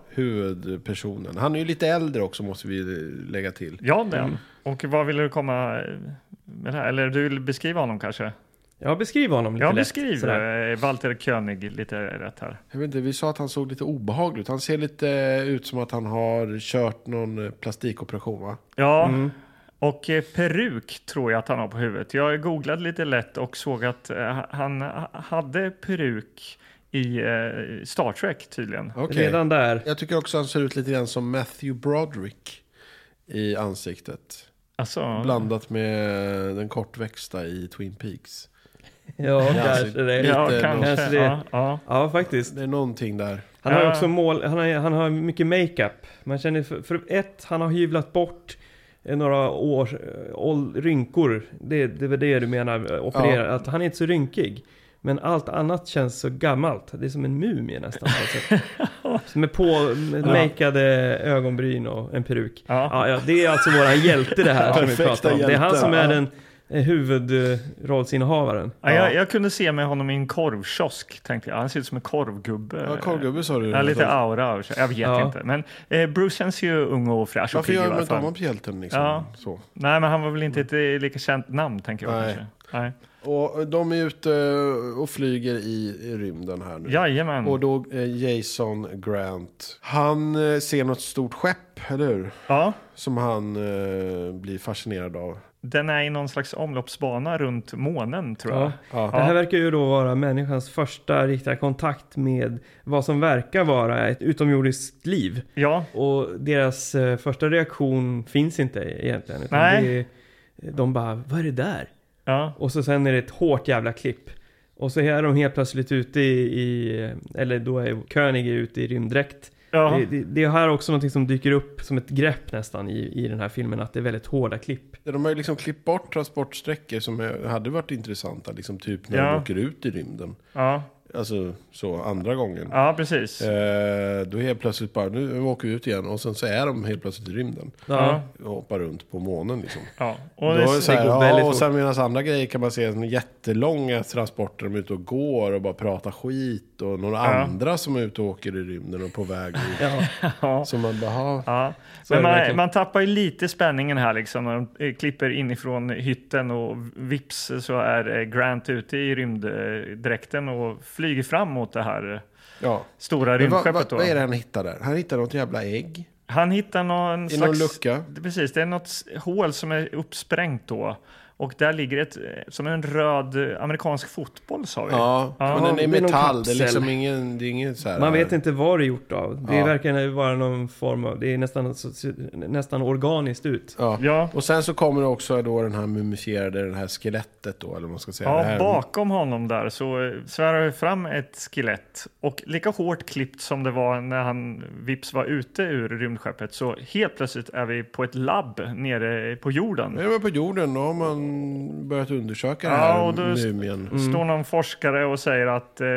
huvudpersonen. Han är ju lite äldre också måste vi lägga till.
ja den. Och vad vill du komma eh, med det här? Eller du vill beskriva honom kanske?
Ja, beskriv honom lite
Jag
lätt.
beskriver
sådär.
eh, Walter König lite rätt här.
Jag vet inte, vi sa att han såg lite obehaglig ut. Han ser lite eh, ut som att han har kört någon eh, plastikoperation va?
Ja, och eh, peruk tror jag att han har på huvudet. Jag googlade lite lätt och såg att eh, han ha- hade peruk i eh, Star Trek tydligen.
Okej.
Redan där.
Jag tycker också han ser ut lite grann som Matthew Broderick i ansiktet.
Alltså,
Blandat med den kortväxta i Twin Peaks.
Ja,
alltså,
kanske det. är-
lite-
ja,
kanske
kanske.
det.
Ja, ja.
Ja, faktiskt.
Det är någonting där.
Han har
Ja.
också mål, han har, han har mycket makeup. Man känner för, för ett, han har hyvlat bort eh, några år, eh, ål- rynkor. Det, det är väl det du menar, eh, operera. Att han är inte så rynkig. Men allt annat känns så gammalt. Det är som en mumie nästan. Alltså. Med på med makeade ögonbryn och en peruk.
Ja.
Ja, ja, det är alltså våran hjälte det här som vi
Perfekta
pratar om. Det är han
hjälte,
som är
ja.
den eh, huvudrollsinnehavaren.
Ja, jag, jag kunde se med honom i en korvkiosk, tänkte jag. Han ser ut som en korvgubbe.
Ja, korvgubbe sa du.
Eh, Ja, lite aura över sig. Jag vet
Ja.
inte. Men eh, Bruce känns ju ung och fräsch och
Varför
pigg i
gör man
alla
inte honom
fall.
till hjälten liksom?
Ja.
Så.
Nej, men han var väl inte ett eh, lika känt namn, tänker jag.
Nej.
Nej. Kanske. Nej.
Och de är ute och flyger i i rymden här nu.
Jajamän.
Och då eh, Jason Grant. Han eh, ser något stort skepp, eller hur?
Ja,
Som han eh, blir fascinerad av.
den är i någon slags omloppsbana runt månen, tror jag.
Ja. Det här verkar ju då vara människans första riktiga kontakt med vad som verkar vara ett utomjordiskt liv.
Ja,
Och deras eh, första reaktion finns inte egentligen. Utan
Nej.
Det är, de bara, vad är det där?
ja.
Och så sen är det ett hårt jävla klipp. Och så är de helt plötsligt ute i, i eller då är König ute i rymddräkt.
ja.
Det, det, det är här också någonting som dyker upp som ett grepp nästan i, i den här filmen, att det är väldigt hårda klipp.
De har ju liksom klippt bort transportsträckor som är- hade varit intressanta. Liksom typ när
Ja.
de åker ut i rymden.
ja.
Alltså så, andra gången.
ja precis.
Eh, då helt plötsligt bara, nu åker vi ut igen. Och sen så är de helt plötsligt i rymden.
Ja.
Och hoppar runt på månen liksom.
Ja. Och
Då
det,
är det så här,
går väldigt
ja, och
fort.
sen medan andra grejer kan man se en jättelånga transporter. De är ute och går och bara pratar skit. Och några andra som är ute och åker i rymden och på väg ut.
Ja.
Så man bara, "Ha."
ja.
Så är
Men
det
man,
verkligen.
man tappar ju lite spänningen här liksom. När de eh, klipper inifrån hytten och vips så är eh, Grant ute i rymddräkten och flyger fram mot det här eh,
ja.
stora
Men vad,
rymdskeppet.
vad,
då.
vad är det han hittar där? Han hittar något jävla ägg.
Han hittar någon
I
slags...
någon lucka.
Det- Precis, det är något s- hål som är uppsprängt då. Och där ligger ett, eh, som en röd eh, amerikansk fotboll sa vi.
Ja,
Ja,
men den
det
är
är någon
metall. Det är
kapsel.
liksom ingen, det är ingen så här...
Man vet inte vad det är gjort av. Det
Eh, Ja.
verkar vara någon form av, det är nästan, så- nästan organiskt ut.
Ja.
Ja.
Och sen så kommer också då den här mumifierade, det här skelettet då, eller vad man ska säga. det
Ja,
här,
bakom honom där så eh, svärar det fram ett skelett och lika hårt klippt som det var när han vips var ute ur rymdskeppet så helt plötsligt är vi på ett labb nere på jorden.
Nu är man på jorden, då har man börjat undersöka den
Ja,
här
och då- Mm.
mumien.
Mm.
Står någon forskare och säger att eh,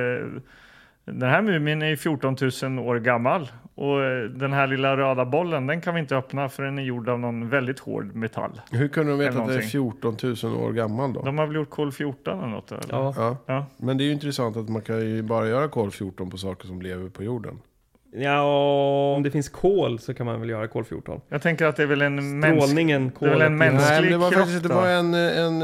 den här mumien är 14 000 år gammal och eh, den här lilla röda bollen den kan vi inte öppna för den är gjord av någon väldigt hård metall.
Hur kunde de veta
Eller
att det är
någonting. 14
14 000 år gammal då?
De har väl gjort kol 14 eller något? Eller?
Ja.
Ja.
Ja.
Men det är ju intressant att man kan ju bara göra kol 14 på saker som lever på jorden.
Ja, om det finns kol så kan man väl göra kol 14.
Jag tänker att det är väl en mänsklig...
Strålningen,
det är väl
kolet.
en mänsklig
Nej, men det var
kropp
faktiskt det
då.
var en, en,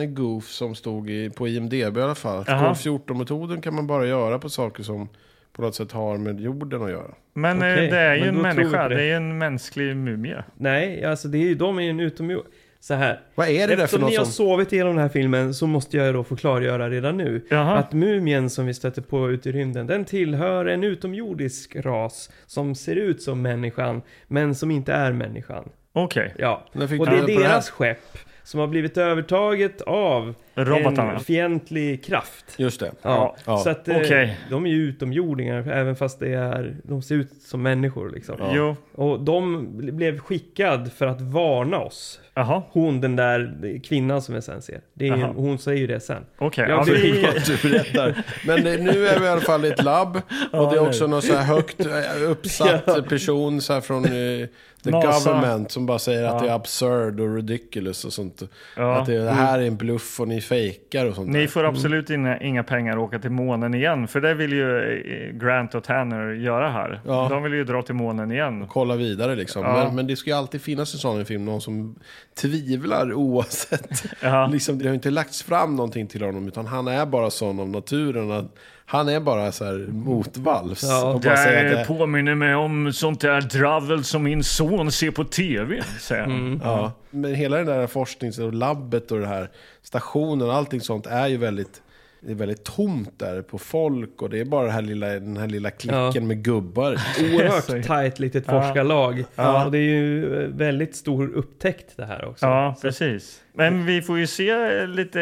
en goof som stod i, på IMDB i alla fall. Kol
Jaha.
14-metoden kan man bara göra på saker som på något sätt har med jorden att göra.
Men eh,
Okej,
det är ju
men då
en
tror vi
människa,
på
det.
det.
är ju en mänsklig mumie.
Nej, alltså det är ju, de är ju en utomjord. Så här.
Vad är det där för
Eftersom
något
ni har
som...
sovit igenom den här filmen så måste jag ju då få klargöra redan nu
Jaha.
att mumien som vi stöter på ute i rymden, den tillhör en utomjordisk ras som ser ut som människan, men som inte är människan.
Okej,
Ja,
När fick
och
du
det är
reda på det här?
deras skepp som har blivit övertaget av
robotarna.
en fientlig kraft.
Just det.
Ja,
Ja.
så att eh,
Okej.
de är ju utomjordingar även fast det är, de ser ut som människor liksom.
Jo,
Och de blev skickad för att varna oss.
jaha,
Hon den där kvinnan som vi sen ser. Det är ju,
Jaha.
hon säger ju det sen.
okej.
Jag
Ja,
blir-
vi-
Vad du berättar. Men det, nu är vi i alla fall i ett labb. Och det är också någon så här högt eh, uppsatt
Ja.
person så här från eh, the
NASA.
government som bara säger att
Ja.
det är absurd och ridiculous och sånt.
Ja.
Att det, det här är en bluff och ni fejkar och sånt
Ni
där.
får absolut inga, inga pengar att åka till månen igen, för det vill ju eh, Grant och Tanner göra här.
Ja.
De vill ju dra till månen igen.
Kolla vidare liksom.
Ja.
Men, men det ska ju alltid finnas en sån i film, någon som tvivlar oavsett.
Ja.
Liksom, det har ju inte lagts fram någonting till honom, utan han är bara sån av naturen. Att han är bara så här motvalls.
Ja.
och
Det
bara säger att
här
det,
påminner mig om sånt där dravel som min son ser på tv, säger han.
Ja. Men hela den där forsknings och labbet och det här stationen och allting sånt är ju väldigt det är väldigt tomt där på folk och det är bara det här lilla, den här lilla klicken
Ja.
med gubbar.
Oerhört tajt litet forskarlag.
Ja.
Och det är ju eh, väldigt stor upptäckt det här också.
Ja, precis. Men vi får ju se lite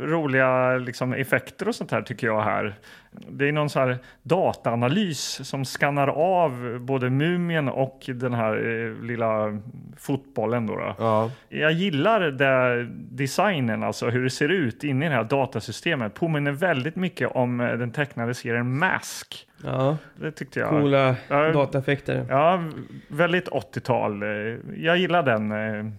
roliga liksom, effekter och sånt här tycker jag här. Det är någon så här dataanalys som skannar av både mumien och den här eh, lilla fotbollen. Då, då.
Ja.
Jag gillar det, designen, alltså hur det ser ut inne i det här datasystemet. Påminner väldigt mycket om eh, den tecknade serien Mask.
Ja,
Det tyckte jag.
coola
Ja.
dataeffekter.
Ja, väldigt 80-tal. eh, Jag gillar den eh,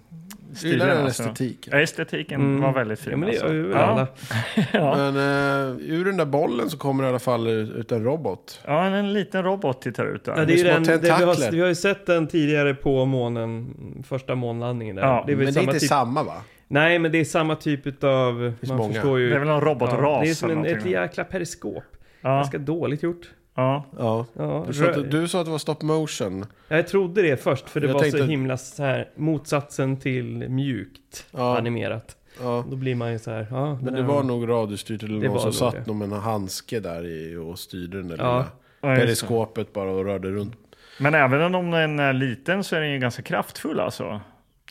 stilen.
Gillar den
alltså.
estetiken.
Ja, estetiken
Mm.
var väldigt fin.
Ja, men det gör
alltså.
ju väl
ja.
alla.
Ja.
Men eh, ur den där bollen så kommer i alla fall ut en robot.
ja, en liten robot tittar ut där.
Ja, det är ju
små
den, det, vi, har,
tentakler.
vi har ju sett den tidigare på månen, första månlandningen där.
Ja,
det är väl
Men det är
samma
inte
typ,
samma va?
Nej, men det är samma typ utav...
finns
Man
många.
förstår ju.
Det är väl en robotras
ja, Det är som
eller
en, ett
någonting.
jäkla periskop.
ja,
Ganska dåligt gjort.
ja.
Ja.
Ja,
Du, sa
rö-
att, du sa att det var stop motion.
Jag trodde det först, för det
Jag
var
tänkte-
så himla så här motsatsen till mjukt
Ja.
animerat.
Ja.
Då blir man ju så här, ja,
Men
den
det
här-
var nog radiostyrt eller
Det
någon
var
som
nog det.
satt någon med en handske där i och styrde den där
Ja.
lilla
Ja, just det.
periskopet bara och rörde runt.
Men även om den är liten så är den ju ganska kraftfull alltså.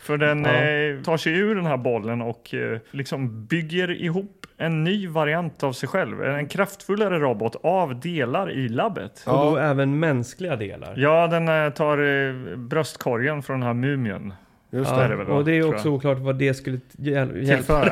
För den
Ja.
eh, tar sig ur den här bollen och eh, liksom bygger ihop en ny variant av sig själv. En kraftfullare robot av delar i labbet.
Och då även mänskliga delar.
Ja, den eh, tar eh, bröstkorgen från den här mumien.
Just
Ja,
det.
är det väl då,
och det är
tror
också
jag.
oklart vad det skulle t- hjäl- hjälpa.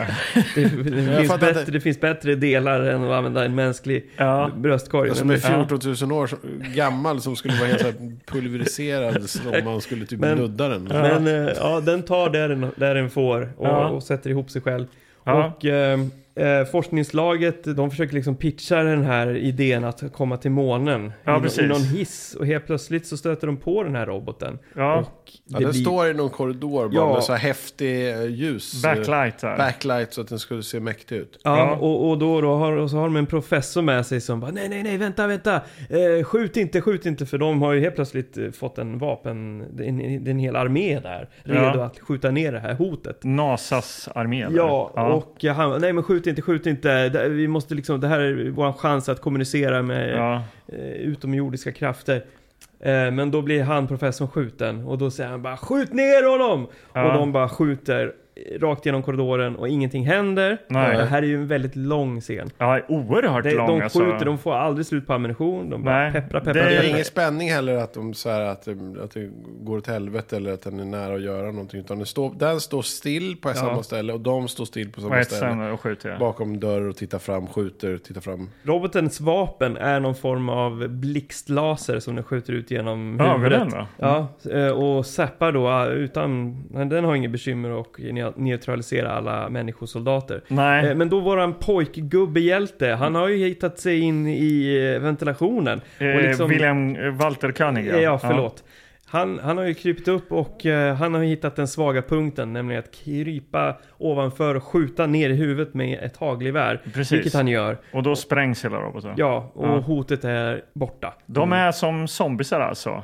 Tillföra.
Det, det, finns
fattar inte.
bättre, det finns bättre delar än att använda en mänsklig
Ja.
bröstkorg.
Som är 14 000 år gammal som skulle vara helt så här pulveriserad om man skulle typ
Men-
nudda den.
Men eh, ja, den tar där den, där den får och,
Ja.
och sätter ihop sig själv.
Ja.
Och eh, eh, forskningslaget, de försöker liksom pitcha den här idén att komma till månen.
Ja,
i, no-
precis.
I någon hiss. Och helt plötsligt så stöter de på den här roboten.
Ja.
Och
Ja,
det
den
blir-
står i någon korridor bara
Ja.
med så här häftig eh, ljus.
Backlight
eh,
där.
Backlight så att den skulle se mäktig ut.
Ja,
Ja.
och, och då, då har, och så har de en professor med sig som bara nej, nej, nej, vänta, vänta. Eh, skjut inte, skjut inte. För de har ju helt plötsligt eh, fått en vapen, en, en, en hel armé där. Redo
Ja.
att skjuta ner det här hotet.
Nasas armé. där.
Ja, och han nej men skjut inte, skjut inte. Det- Vi måste liksom, det här är vår chans att kommunicera med
ja.
eh, utomjordiska krafter. Eh, men då blir han professorn skjuten och då säger han bara skjut ner honom!
Ja.
Och de bara skjuter eh, rakt genom korridoren och ingenting händer.
Nej.
Det här är ju en väldigt lång scen.
ja oerhört
Det,
lång.
de
alltså.
skjuter, de får aldrig slut på ammunition. De bara
Nej.
pepprar,
Det
pepprar,
Det
är
är
pepprar.
ingen spänning heller att, de, så här, att, det- att det går åt helvete eller att den är nära att göra någonting. Utan den står, den står still på samma ställe och de står still på
och
samma
ett
ställe.
sen eh, och skjuter. jag.
Bakom dörr och tittar fram, skjuter, tittar fram.
Robotens vapen är någon form av blixtlaser som den skjuter ut genom
Ögonen
huvudet.
va?
ah, Ja, eh, och Zappa då eh, utan, den har inget bekymmer och ni ne- neutralisera alla människosoldater.
Nej.
Eh, Men då våran pojkgubbehjälte, han har ju hittat sig in i eh, ventilationen.
Eh, William eh, Walter Cunningham.
liksom- Ja, förlåt. Han, han har ju krypit upp och eh, han har ju hittat den svaga punkten, nämligen att krypa ovanför och skjuta ner i huvudet med ett hagelgevär.
Precis.
Vilket han gör.
Och då sprängs hela roboten.
Ja, och
Ja.
hotet är borta.
De är som zombiesar alltså.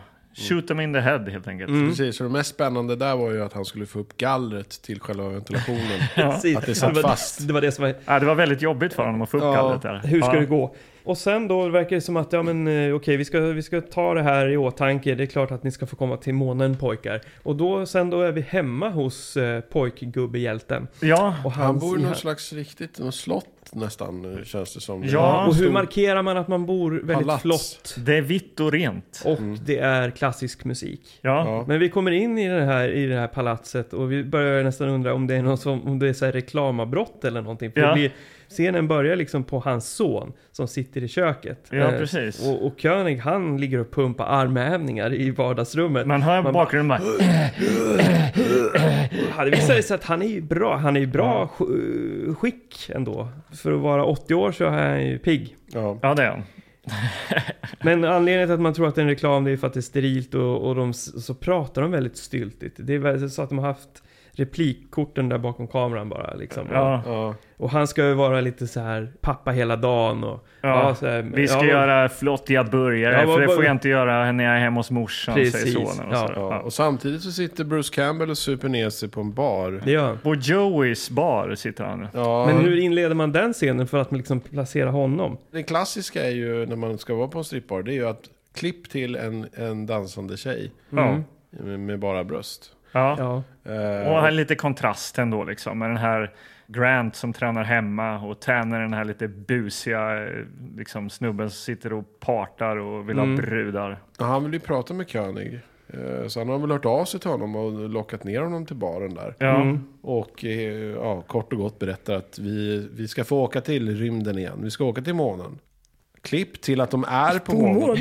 Shoot them in the head helt enkelt.
Mm.
Precis, så det mest spännande där var ju att han skulle få upp gallret till själva ventilationen.
Precis.
Att det satt
var,
fast.
Det var det som var...
Ja, det var väldigt jobbigt för honom att få upp
Ja,
gallret där.
Hur ska
ja.
det gå? Och sen då verkar det som att, ja men eh, okej, vi, ska, vi ska ta det här i åtanke. Det är klart att ni ska få komma till månen pojkar. Och då, sen då är vi hemma hos eh, pojkgubbehjälten.
Ja,
Och
Han
hans-
bor i någon slags riktigt något slott nästan, eh, känns det som.
Ja.
Och hur
Stor-
markerar man att man bor väldigt
Palats.
flott?
det är vitt och rent.
Och det är klassisk musik.
Ja.
Ja.
Men vi kommer in i det här, i det här palatset och vi börjar nästan undra om det är någon som, om det är så här reklamavbrott eller någonting. För
Ja.
det blir, scenen börjar liksom på hans son som sitter i köket.
Ja,
Eh,
precis.
Och, och König han ligger och pumpar armhävningar i vardagsrummet.
Man hör
Man
bakgrunden bara...
Ja, det visar sig att han är ju bra, han är ju bra sk- skick ändå. För att vara 80 år så är han ju pigg.
Ja.
Ja, det är han.
Men anledningen till att man tror att det är en reklam det är för att det är sterilt och, och de, s- så pratar de väldigt styltigt. Det är väl så att de har haft replikkorten där bakom kameran bara liksom.
Ja.
Ja.
Och han ska ju vara lite så här pappa hela dagen och
Ja.
så här,
Vi ska
ja,
göra flottiga burgare,
Ja, vad-
för det får
vad-
jag inte göra när jag är hemma hos morsan,
Precis.
säger sonen. Och,
Ja.
sådär.
Ja.
ja.
Och samtidigt så sitter Bruce Campbell och super ner sig på en bar.
Det gör han.
på Joeys bar sitter
Mm.
han.
Ja.
Men hur inleder man den scenen för att liksom placera honom?
Den klassiska är ju, när man ska vara på en stripbar, det är ju att klipp till en, en dansande tjej
Ja.
med, med bara bröst.
Ja.
Ja.
Eh,
Och här lite kontrast ändå liksom med den här Grant som tränar hemma och tränar den här lite busiga eh, liksom, snubben som sitter och partar och vill ha brudar.
och han vill ju prata med König. Eh, Så han har väl hört av sig till honom och lockat ner honom till baren där.
Ja,
Och eh, ja, kort och gott berättar att vi, vi ska få åka till rymden igen. Vi ska åka till månen. Klipp till att de är på, månen.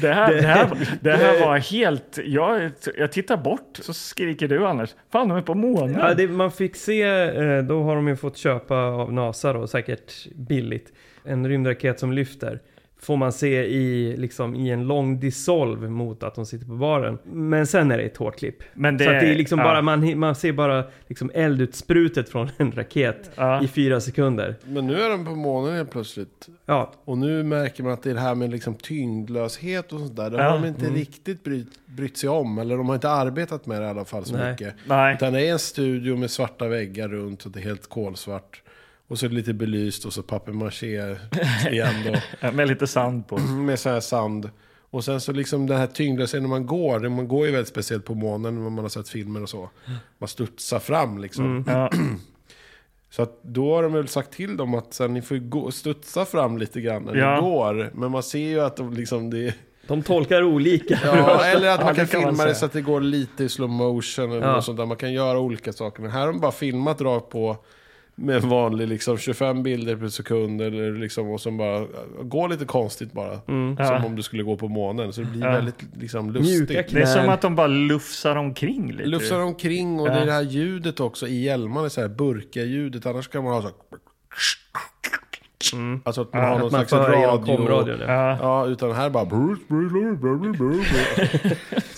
det, här, det, här, det här var helt... Jag, jag tittar bort så skriker du annars. Fan, de är på månen.
Ja, det, man fick se, eh, då har de ju fått köpa av NASA då, säkert billigt, en rymdraket som lyfter. Får man se i, liksom, i en lång dissolv mot att de sitter på baren. Men sen är det ett hårt klipp.
Men det-
så att det är liksom
ja.
bara, man, man ser bara liksom eldutsprutet från en raket
Ja.
i fyra sekunder.
Men nu är de på månen helt plötsligt.
Ja,
Och nu märker man att det är det här med liksom tyngdlöshet och sånt där. Det
Ja. Mm.
har de inte riktigt brytt, brytt sig om. Eller de har inte arbetat med det i alla fall så
Nej.
mycket.
Nej.
Utan det är en studio med svarta väggar runt och det är helt kolsvart. Och så är det lite belyst och så papier-maché igen då.
Ja, Med lite sand på.
med så här sand. Och sen så liksom den här tyngdlösheten när man går, det- man går ju väldigt speciellt på månen när man har sett filmer och så. Man studsar fram liksom.
Mm, Ja.
Så att då har de väl sagt till dem att så här, ni får ju gå, studsa fram lite grann när
Ja.
ni går. Men man ser ju att de liksom det...
de tolkar olika.
Ja, eller att man
Ja, det
kan,
kan man
filma
säga.
det så att det går lite i slow motion eller
Ja.
något sånt där. Man kan göra olika saker. Men här har de bara filmat rakt på med en vanlig liksom 25 bilder per sekund eller liksom och som bara går lite konstigt bara. Som
Ja.
om du skulle gå på månen. Så det blir väldigt liksom lustigt.
Mjuka
Det är
knän.
som att de bara lufsar omkring lite.
Lufsar omkring och det är det här ljudet också i hjälmarna, så här burka-ljudet. Annars kan man ha så här... Alltså att man har någon
man
slags
får höra genom
radio.
komradion. ja.
Ja.
Ja, utan här bara...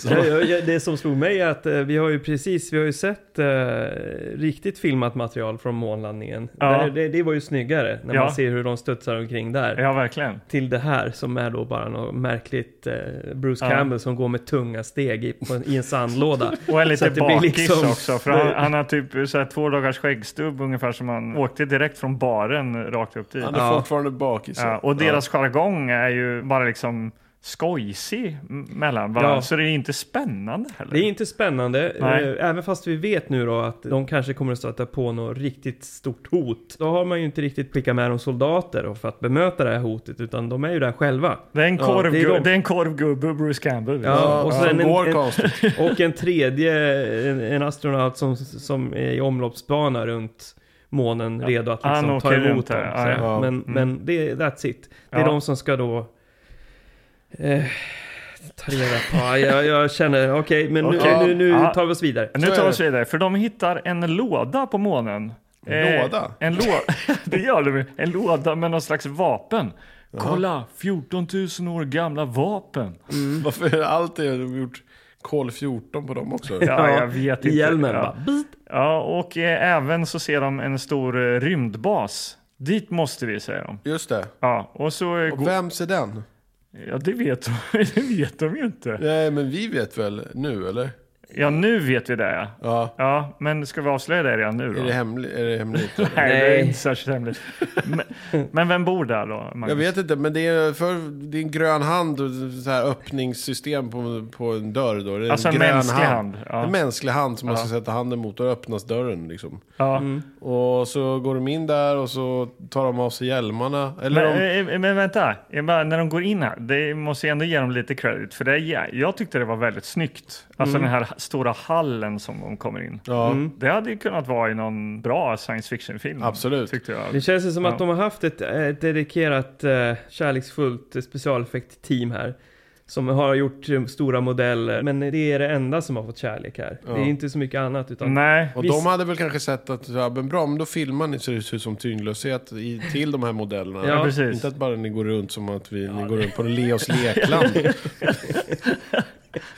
Ja, ja, ja, det som slog mig är att eh, vi har ju precis, vi har ju sett eh, riktigt filmat material från månlandningen.
Ja.
Där, det, det var ju snyggare när
Ja.
man ser hur de studsar omkring där.
Ja, verkligen.
Till det här som är då bara något märkligt eh, Bruce
Ja.
Campbell som går med tunga steg i, på, en- i en sandlåda.
Och är
Så
lite
att det blir
bakis
liksom-
också. För han, han har typ så här två dagars skäggstubb ungefär som han åkte direkt från baren rakt upp dit.
Han är
Ja.
fortfarande bakis.
Ja, och deras jargong är ju bara liksom skojsig m- mellan varandra.
Ja.
Så det är inte spännande heller.
Det är inte spännande,
Nej.
eh, även fast vi vet nu då att de kanske kommer att stöta på något riktigt stort hot. Då har man ju inte riktigt skickat med dem soldater då för att bemöta det här hotet, utan de är ju där själva.
Det är en,
Ja,
korvgu-
det är de.
det är en korvgubbe och Bruce Campbell. Liksom.
Ja,
Ja,
och
och
sen en-
går
en-
konstigt.
Och en tredje, en, en astronaut som, som är i omloppsbana runt månen redo att
han
liksom ta
åker runt
emot dem.
där.
så här.
Ja, Mm.
ja.
Men, men det, that's it. Det är
Ja.
de som ska då eh, Ta reda på. Ja, jag, jag känner, okej, men nu,
Okej.
nu, nu
Ja.
tar vi oss vidare.
är
Nu tar vi
det.
oss vidare, för de hittar en låda på månen. Eh,
En låda?
En låda. det gör de ju. En låda med någon slags vapen. Kolla, 14 000 år gamla vapen.
Varför allt är de gjort kol 14 på dem också?
Ja, jag vet inte.
I hjälmen
Ja.
bara. Bit.
Ja, och eh, även så ser de en stor eh, rymdbas. Dit måste vi, säger de.
Just det.
Ja, och så... eh,
Och
gå-
vems är den?
Ja, det vet, de, det vet de ju inte.
Nej, men vi vet väl nu, eller?
Ja, nu vet vi det. ja.
Ja.
Ja, men ska vi avslöja det redan nu då?
Är det, hemli- är det hemligt?
Nej, det är
Nej.
inte särskilt hemligt. Men, men vem bor där då, Magnus?
Jag vet inte, men det är, för, det är en grön hand och så här öppningssystem på, på en dörr. Då. Det är
Alltså en
grön
mänsklig hand, ja.
En mänsklig hand som man ska sätta handen mot och öppnas dörren. Liksom.
Ja.
Och så går de in där och så tar de av sig hjälmarna. Eller
Men,
om,
eh, men vänta, jag bara, när de går in här, det måste jag ändå ge dem lite credit. För det, ja, jag tyckte det var väldigt snyggt.
Mm.
Alltså den här stora hallen som de kommer in.
ja,
Det hade ju kunnat vara i någon bra science fiction-film.
Absolut.
Tyckte jag.
Det känns ju som
Ja.
att de har haft ett, ett dedikerat, eh, kärleksfullt specialeffekt-team här. Som har gjort eh, stora modeller, men det är det enda som har fått kärlek här. Det är inte så mycket annat, utan
Nej,
Och
Visst.
de hade väl kanske sett att, ja, men bra, men då filmar ni så det ser ut som tyngdlöshet i, till de här modellerna.
Ja,
precis.
Inte att bara ni går runt som att vi, ni går runt på en Leos lekland.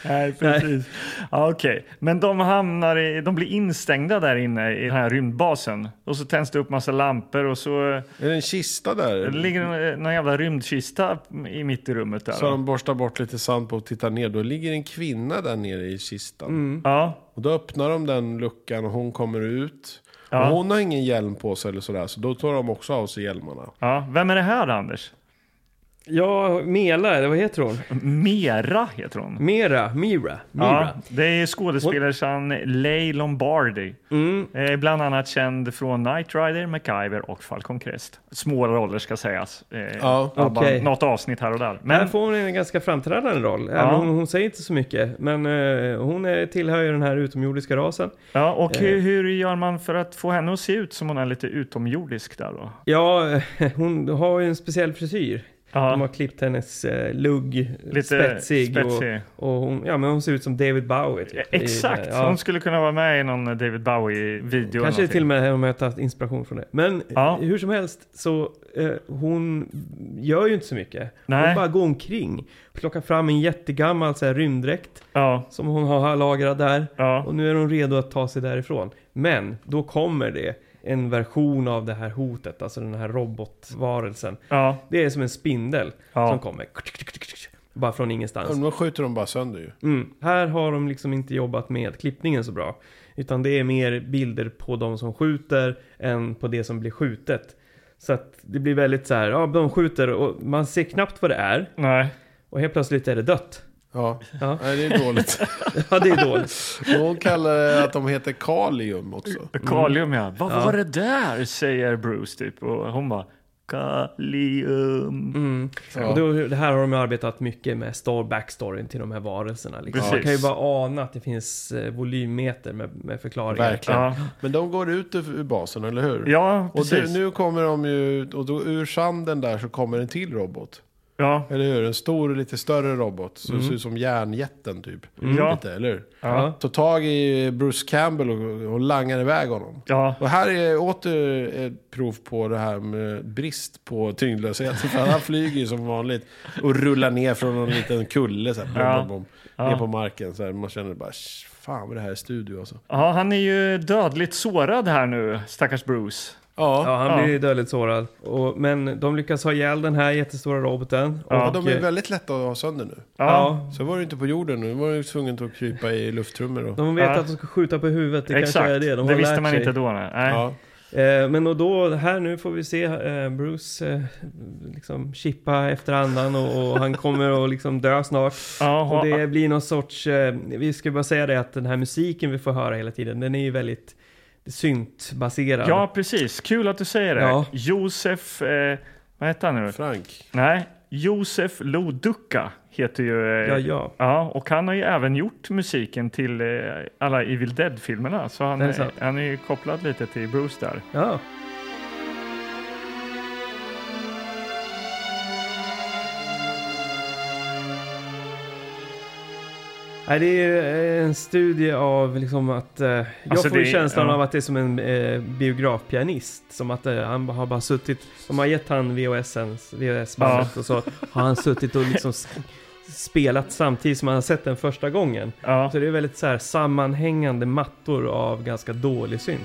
nej precis. Ja, Okej, men de hamnar i, de blir instängda där inne i den här rymdbasen. Och så tänds det upp massa lampor och så eh,
är det en kista
det
där?
ligger en- eh, någon jävla rymdkista i mitt i rummet där.
Så de borstar bort lite sand på och tittar ner. Då ligger en kvinna där nere i kistan.
Ja,
Och då öppnar de den luckan och hon kommer ut.
Ja.
Och hon har ingen hjälm på sig eller sådär. Så då tar de också av sig hjälmarna.
ja. Vem är det här då, Anders?
ja, Mela, eller vad heter hon?
Mera heter hon.
Mera, Mira,
Ja,
Mira.
det är skådespelerskan Leigh Lombardi. Eh, bland annat känd från Knight Rider, MacGyver och Falcon Crest. Små roller ska sägas. Eh,
Ja,
bara
okej.
Något avsnitt här och där.
Här
Men
får hon en ganska framträdande roll, även om hon säger inte så mycket. Men eh, hon är, tillhör ju den här utomjordiska rasen.
ja,
Eh.
och hur, hur gör man för att få henne att se ut som hon är lite utomjordisk där då?
Ja, hon har ju en speciell frisyr.
Ja.
De har klippt hennes eh, lugg,
Lite
spetsig.
spetsig.
Och, och hon, ja, men hon ser ut som David Bowie. Typ, i-
e- Exakt!
ja.
Hon skulle kunna vara med i någon David Bowie-video.
Kanske
eller
till och med om jag har tagit inspiration från det. Men
Ja.
eh, hur som helst så eh, hon gör ju inte så mycket.
Nej.
Hon bara går omkring, plockar fram en jättegammal så här, rymddräkt
Ja,
som hon har lagrad där.
Ja.
Och nu är hon redo att ta sig därifrån. Men då kommer det en version av det här hotet, alltså den här robotvarelsen.
ja.
Det är som en spindel
Ja.
som kommer. Bara från ingenstans.
Då skjuter de bara sönder ju.
Mm. Här har de liksom inte jobbat med klippningen så bra. Utan det är mer bilder på de som skjuter än på det som blir skjutet. Så att det blir väldigt så här, ja de skjuter och man ser knappt vad det är.
Nej.
Och helt plötsligt är det dött.
Ja,
Ja.
Nej, det är dåligt.
Ja det är dåligt.
Och hon kallar det att de heter kalium också.
Kalium ja. Vad var det där? Säger Bruce typ. Och hon bara Kalium.
Mm.
Ja.
Och då, det här har de ju arbetat mycket med stor backstoryn till de här varelserna. Liksom. Man
Precis.
kan ju bara ana att det finns eh, volymmeter med, med förklaringar.
Verkligen.
Ja,
Men de går ut ur ur basen, eller hur?
ja
Och
precis.
du, nu kommer de ju ut och då ur sanden där så kommer en till robot.
Ja.
Eller hur? En stor, lite större robot. Så ser ut som järnjätten typ.
Ja.
Lite, eller hur?
Ja.
Tar tag i Bruce Campbell och, och langar iväg honom.
Ja,
Och här är åter ett prov på det här med brist på tyngdlöshet. För han flyger ju som vanligt och rullar ner från någon liten kulle så här, bom,
Ja.
bom, bom, ner på marken. Så här. Man känner bara, "Sh, fan vad det här är studio alltså.
ja, han är ju dödligt sårad här nu, stackars Bruce.
Ja,
Ja, han blir
Ja.
ju dödligt sårad. Och, men de lyckas ha ihjäl den här jättestora roboten.
Ja,
och de är
eh,
väldigt lätta att ha sönder nu.
Ja,
Ja,
Så var det inte på jorden nu, var du tvungen att krypa i lufttrummor. Och...
de vet
Ja.
att de ska skjuta på huvudet. Det
exakt.
kanske
Det,
är det. De har
visste
lärt
man
sig.
inte då. Nej. Nej.
Ja.
Eh, men och då, här nu får vi se eh, Bruce eh, liksom chippa efter andan och, och han kommer att liksom dö snart.
Ja,
Och
ha,
det blir någon sorts, eh, vi ska bara säga det att den här musiken vi får höra hela tiden, den är ju väldigt syntbaserad.
ja, precis. Kul att du säger det.
Ja.
Josef... Eh, vad heter han nu?
Frank.
Nej, Josef Loduca heter ju... Eh,
ja, ja.
ja, och han har ju även gjort musiken till eh, alla Evil Dead-filmerna. Så han
Det är
är,
sant.
han är ju kopplad lite till Bruce där.
ja. Nej, det är eh, en studie av liksom att... eh, Jag
Alltså,
får ju
det är-
känslan
ja.
av att det är som en eh, biografpianist. Som att eh, han har bara suttit... De har gett han VHS-bandet VHS och så har han suttit och liksom s- spelat samtidigt som han har sett den första gången.
Ja.
Så Alltså, det är väldigt så här sammanhängande mattor av ganska dålig synt.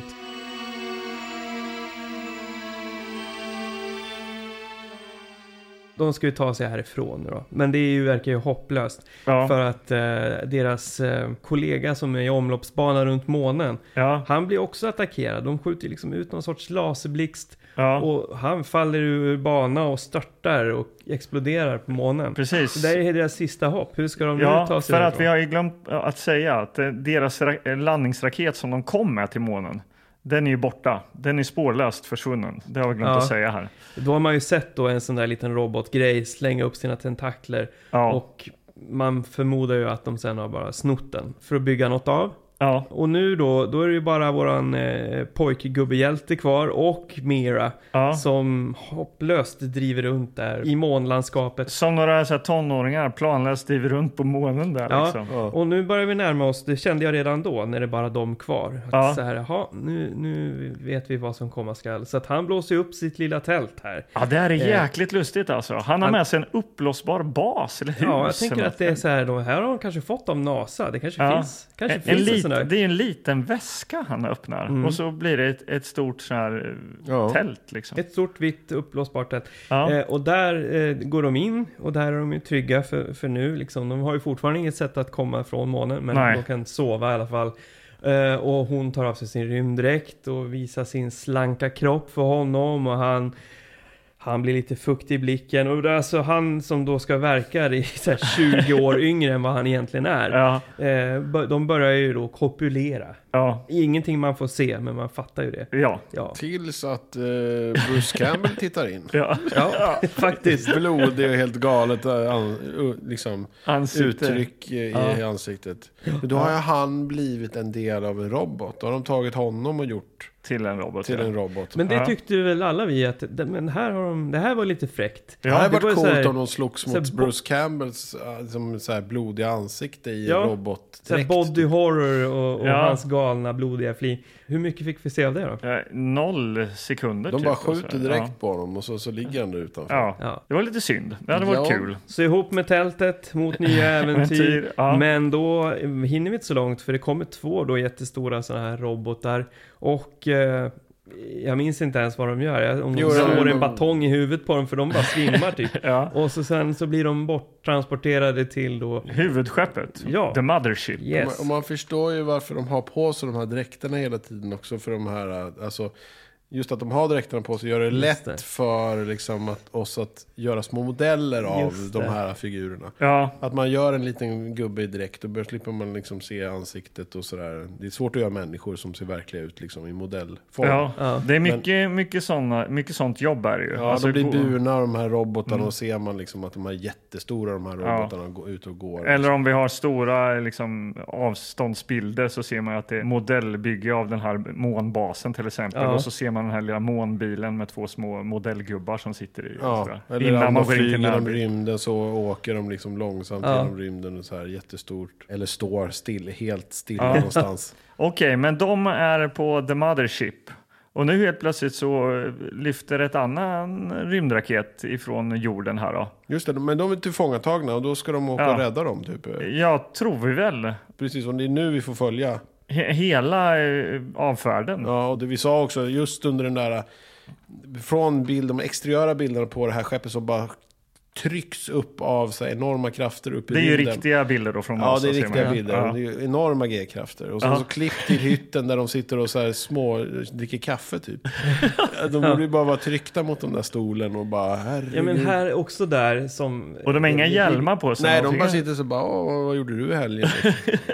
De ska ju ta sig härifrån nu då. Men det är ju, verkar ju hopplöst.
Ja.
För att eh, deras eh, kollega som är i omloppsbana runt månen,
Ja.
han blir också attackerad. De skjuter liksom ut någon sorts laserblixt
Ja.
och han faller ur bana och störtar och exploderar på månen.
Precis.
Det där är deras sista hopp. Hur ska de nu
Ja,
ta sig
för att vi
därifrån?
har ju glömt att säga att eh, deras ra- eh, landningsraket som de kom med till månen, den är ju borta. Den är spårlöst försvunnen. Det har vi glömt
Ja.
att säga här.
Då har man ju sett då en sån där liten robotgrej slänga upp sina tentakler
Ja.
och man förmodar ju att de sen har bara snott den för att bygga något av.
Ja,
Och nu då, då är det ju bara våran eh, pojkgubbehjälte kvar och Mira
ja.
som hopplöst driver runt där i månlandskapet.
Som några så här, tonåringar planlöst driver runt på månen där
Ja.
liksom.
Ja.
Och nu börjar vi närma oss, det kände jag redan då, när det är bara de kvar. Att
Ja.
så här, jaha, nu, nu vet vi vad som komma skall. Så att han blåser ju upp sitt lilla tält här.
Ja, det här är
Eh.
jäkligt lustigt alltså. Han har
Han-
med sig en uppblåsbar bas eller hus.
Ja, jag tänker
eller
att det är så här, de här har de kanske fått av NASA. Det kanske
Ja.
finns, kanske
En, en
finns en,
lit,
sån där.
det är en liten väska han öppnar och så blir det ett, ett stort så här, eh,
Ja.
tält. Liksom.
Ett stort vitt uppblåsbart tält.
Ja.
Eh, och där eh, går de in och där är de ju trygga för, för nu. Liksom. De har ju fortfarande inget sätt att komma från månen men
Nej.
de kan sova i alla fall. Eh, och hon tar av sig sin rymddräkt och visar sin slanka kropp för honom och han han blir lite fuktig i blicken och det är alltså han som då ska verka i så här 20 år yngre än vad han egentligen är.
ja,
Eh, bör- de börjar ju då kopulera.
ja,
Ingenting man får se, men man fattar ju det.
ja,
Ja,
Tills att eh, Bruce Campbell tittar in.
ja.
ja faktiskt.
Blodig och helt galet eh, an, u- liksom,
Ansikte.
uttryck eh, i ansiktet. Men Då har ju han blivit en del av en robot. Då har de tagit honom och gjort
Till en robot.
till
ja.
en robot.
Men det
Ja.
tyckte väl alla vi att det- men här har de, det här var lite fräckt.
det hade
var
varit
så
coolt
här-
om de slogs
så här
mot
bo-
Bruce Campbells eh, liksom, så här blodiga ansikte i
Ja,
en
Så här
robotdräkt.
body horror och, och
Ja.
hans galna blodiga flin. Hur mycket fick vi se av det då?
Eh, Noll sekunder.
De
typ,
bara
och så här.
skjuter direkt på honom och så, så ligger han där utanför.
Ja.
Ja.
Ja. det var lite synd. Det hade varit
Ja.
kul.
Så ihop med tältet mot nya äventyr.
Äventyr, ja.
Men då eh, hinner vi inte så långt för det kommer två då jättestora sådana här robotar. Och eh, jag minns inte ens vad de gör. Jag- Om de
Jo, ja,
slår
men-
en batong i huvudet på dem för de bara svimmar typ.
Ja.
Och så sen så blir de borttransporterade till då...
Huvudskeppet,
Ja.
the mothership.
Man,
Yes.
och man förstår ju varför de har på sig de här dräkterna hela tiden också. För de här, alltså, just att de har dräkterna på sig gör det lätt
det.
för liksom, att, oss att göra små modeller av
Just
de
det.
här figurerna.
Ja,
Att man gör en liten gubbe i dräkt och då slipper man liksom se ansiktet och sådär. Det är svårt att göra människor som ser verkliga ut liksom, i modellform.
ja.
Ja.
det är mycket, mycket, såna, mycket sånt jobb är det Mm. ju.
Ja,
Alltså,
de blir
gå-
burna de här robotarna och ser man liksom att de här jättestora de här robotarna går ut och går.
Eller om vi har stora liksom, avståndsbilder så ser man ju att det är modellbygge av den här månbasen till exempel.
Ja.
Och så ser man den här lilla månbilen med två små modellgubbar som sitter i. och
Ja,
sådär.
eller om de
går in till
flyger genom
närbild.
rymden så åker de liksom långsamt
Ja.
genom rymden och så här jättestort. Eller står still, helt stilla någonstans.
Okej, men de är på The Mothership. Och nu helt plötsligt så eh, lyfter ett annan rymdraket ifrån jorden här då.
Just det, men de är tillfångatagna och då ska de åka
Ja.
och rädda dem typ.
Jag tror vi väl.
Precis, och det är nu vi får följa.
He- hela eh, avfärden.
Ja, och det vi sa också, just under den där... Från bild, de exteriöra bilderna på det här skeppet som bara trycks upp av så här, enorma krafter upp i
det är ju
rymden.
riktiga bilder då från
Ja,
NASA,
det är
ser man ju.
riktiga bilder.
Ja.
Och Det är ju enorma G-krafter. Och sen
Ja.
så klipp till hytten där de sitter och så här små, dricker kaffe typ. De borde ju bara vara tryckta mot den där stolen och bara herregud.
Ja men här också där som...
Och de har inga hjälmar på sig.
Nej, de
någonting.
bara sitter så bara, Åh, vad gjorde du i helgen?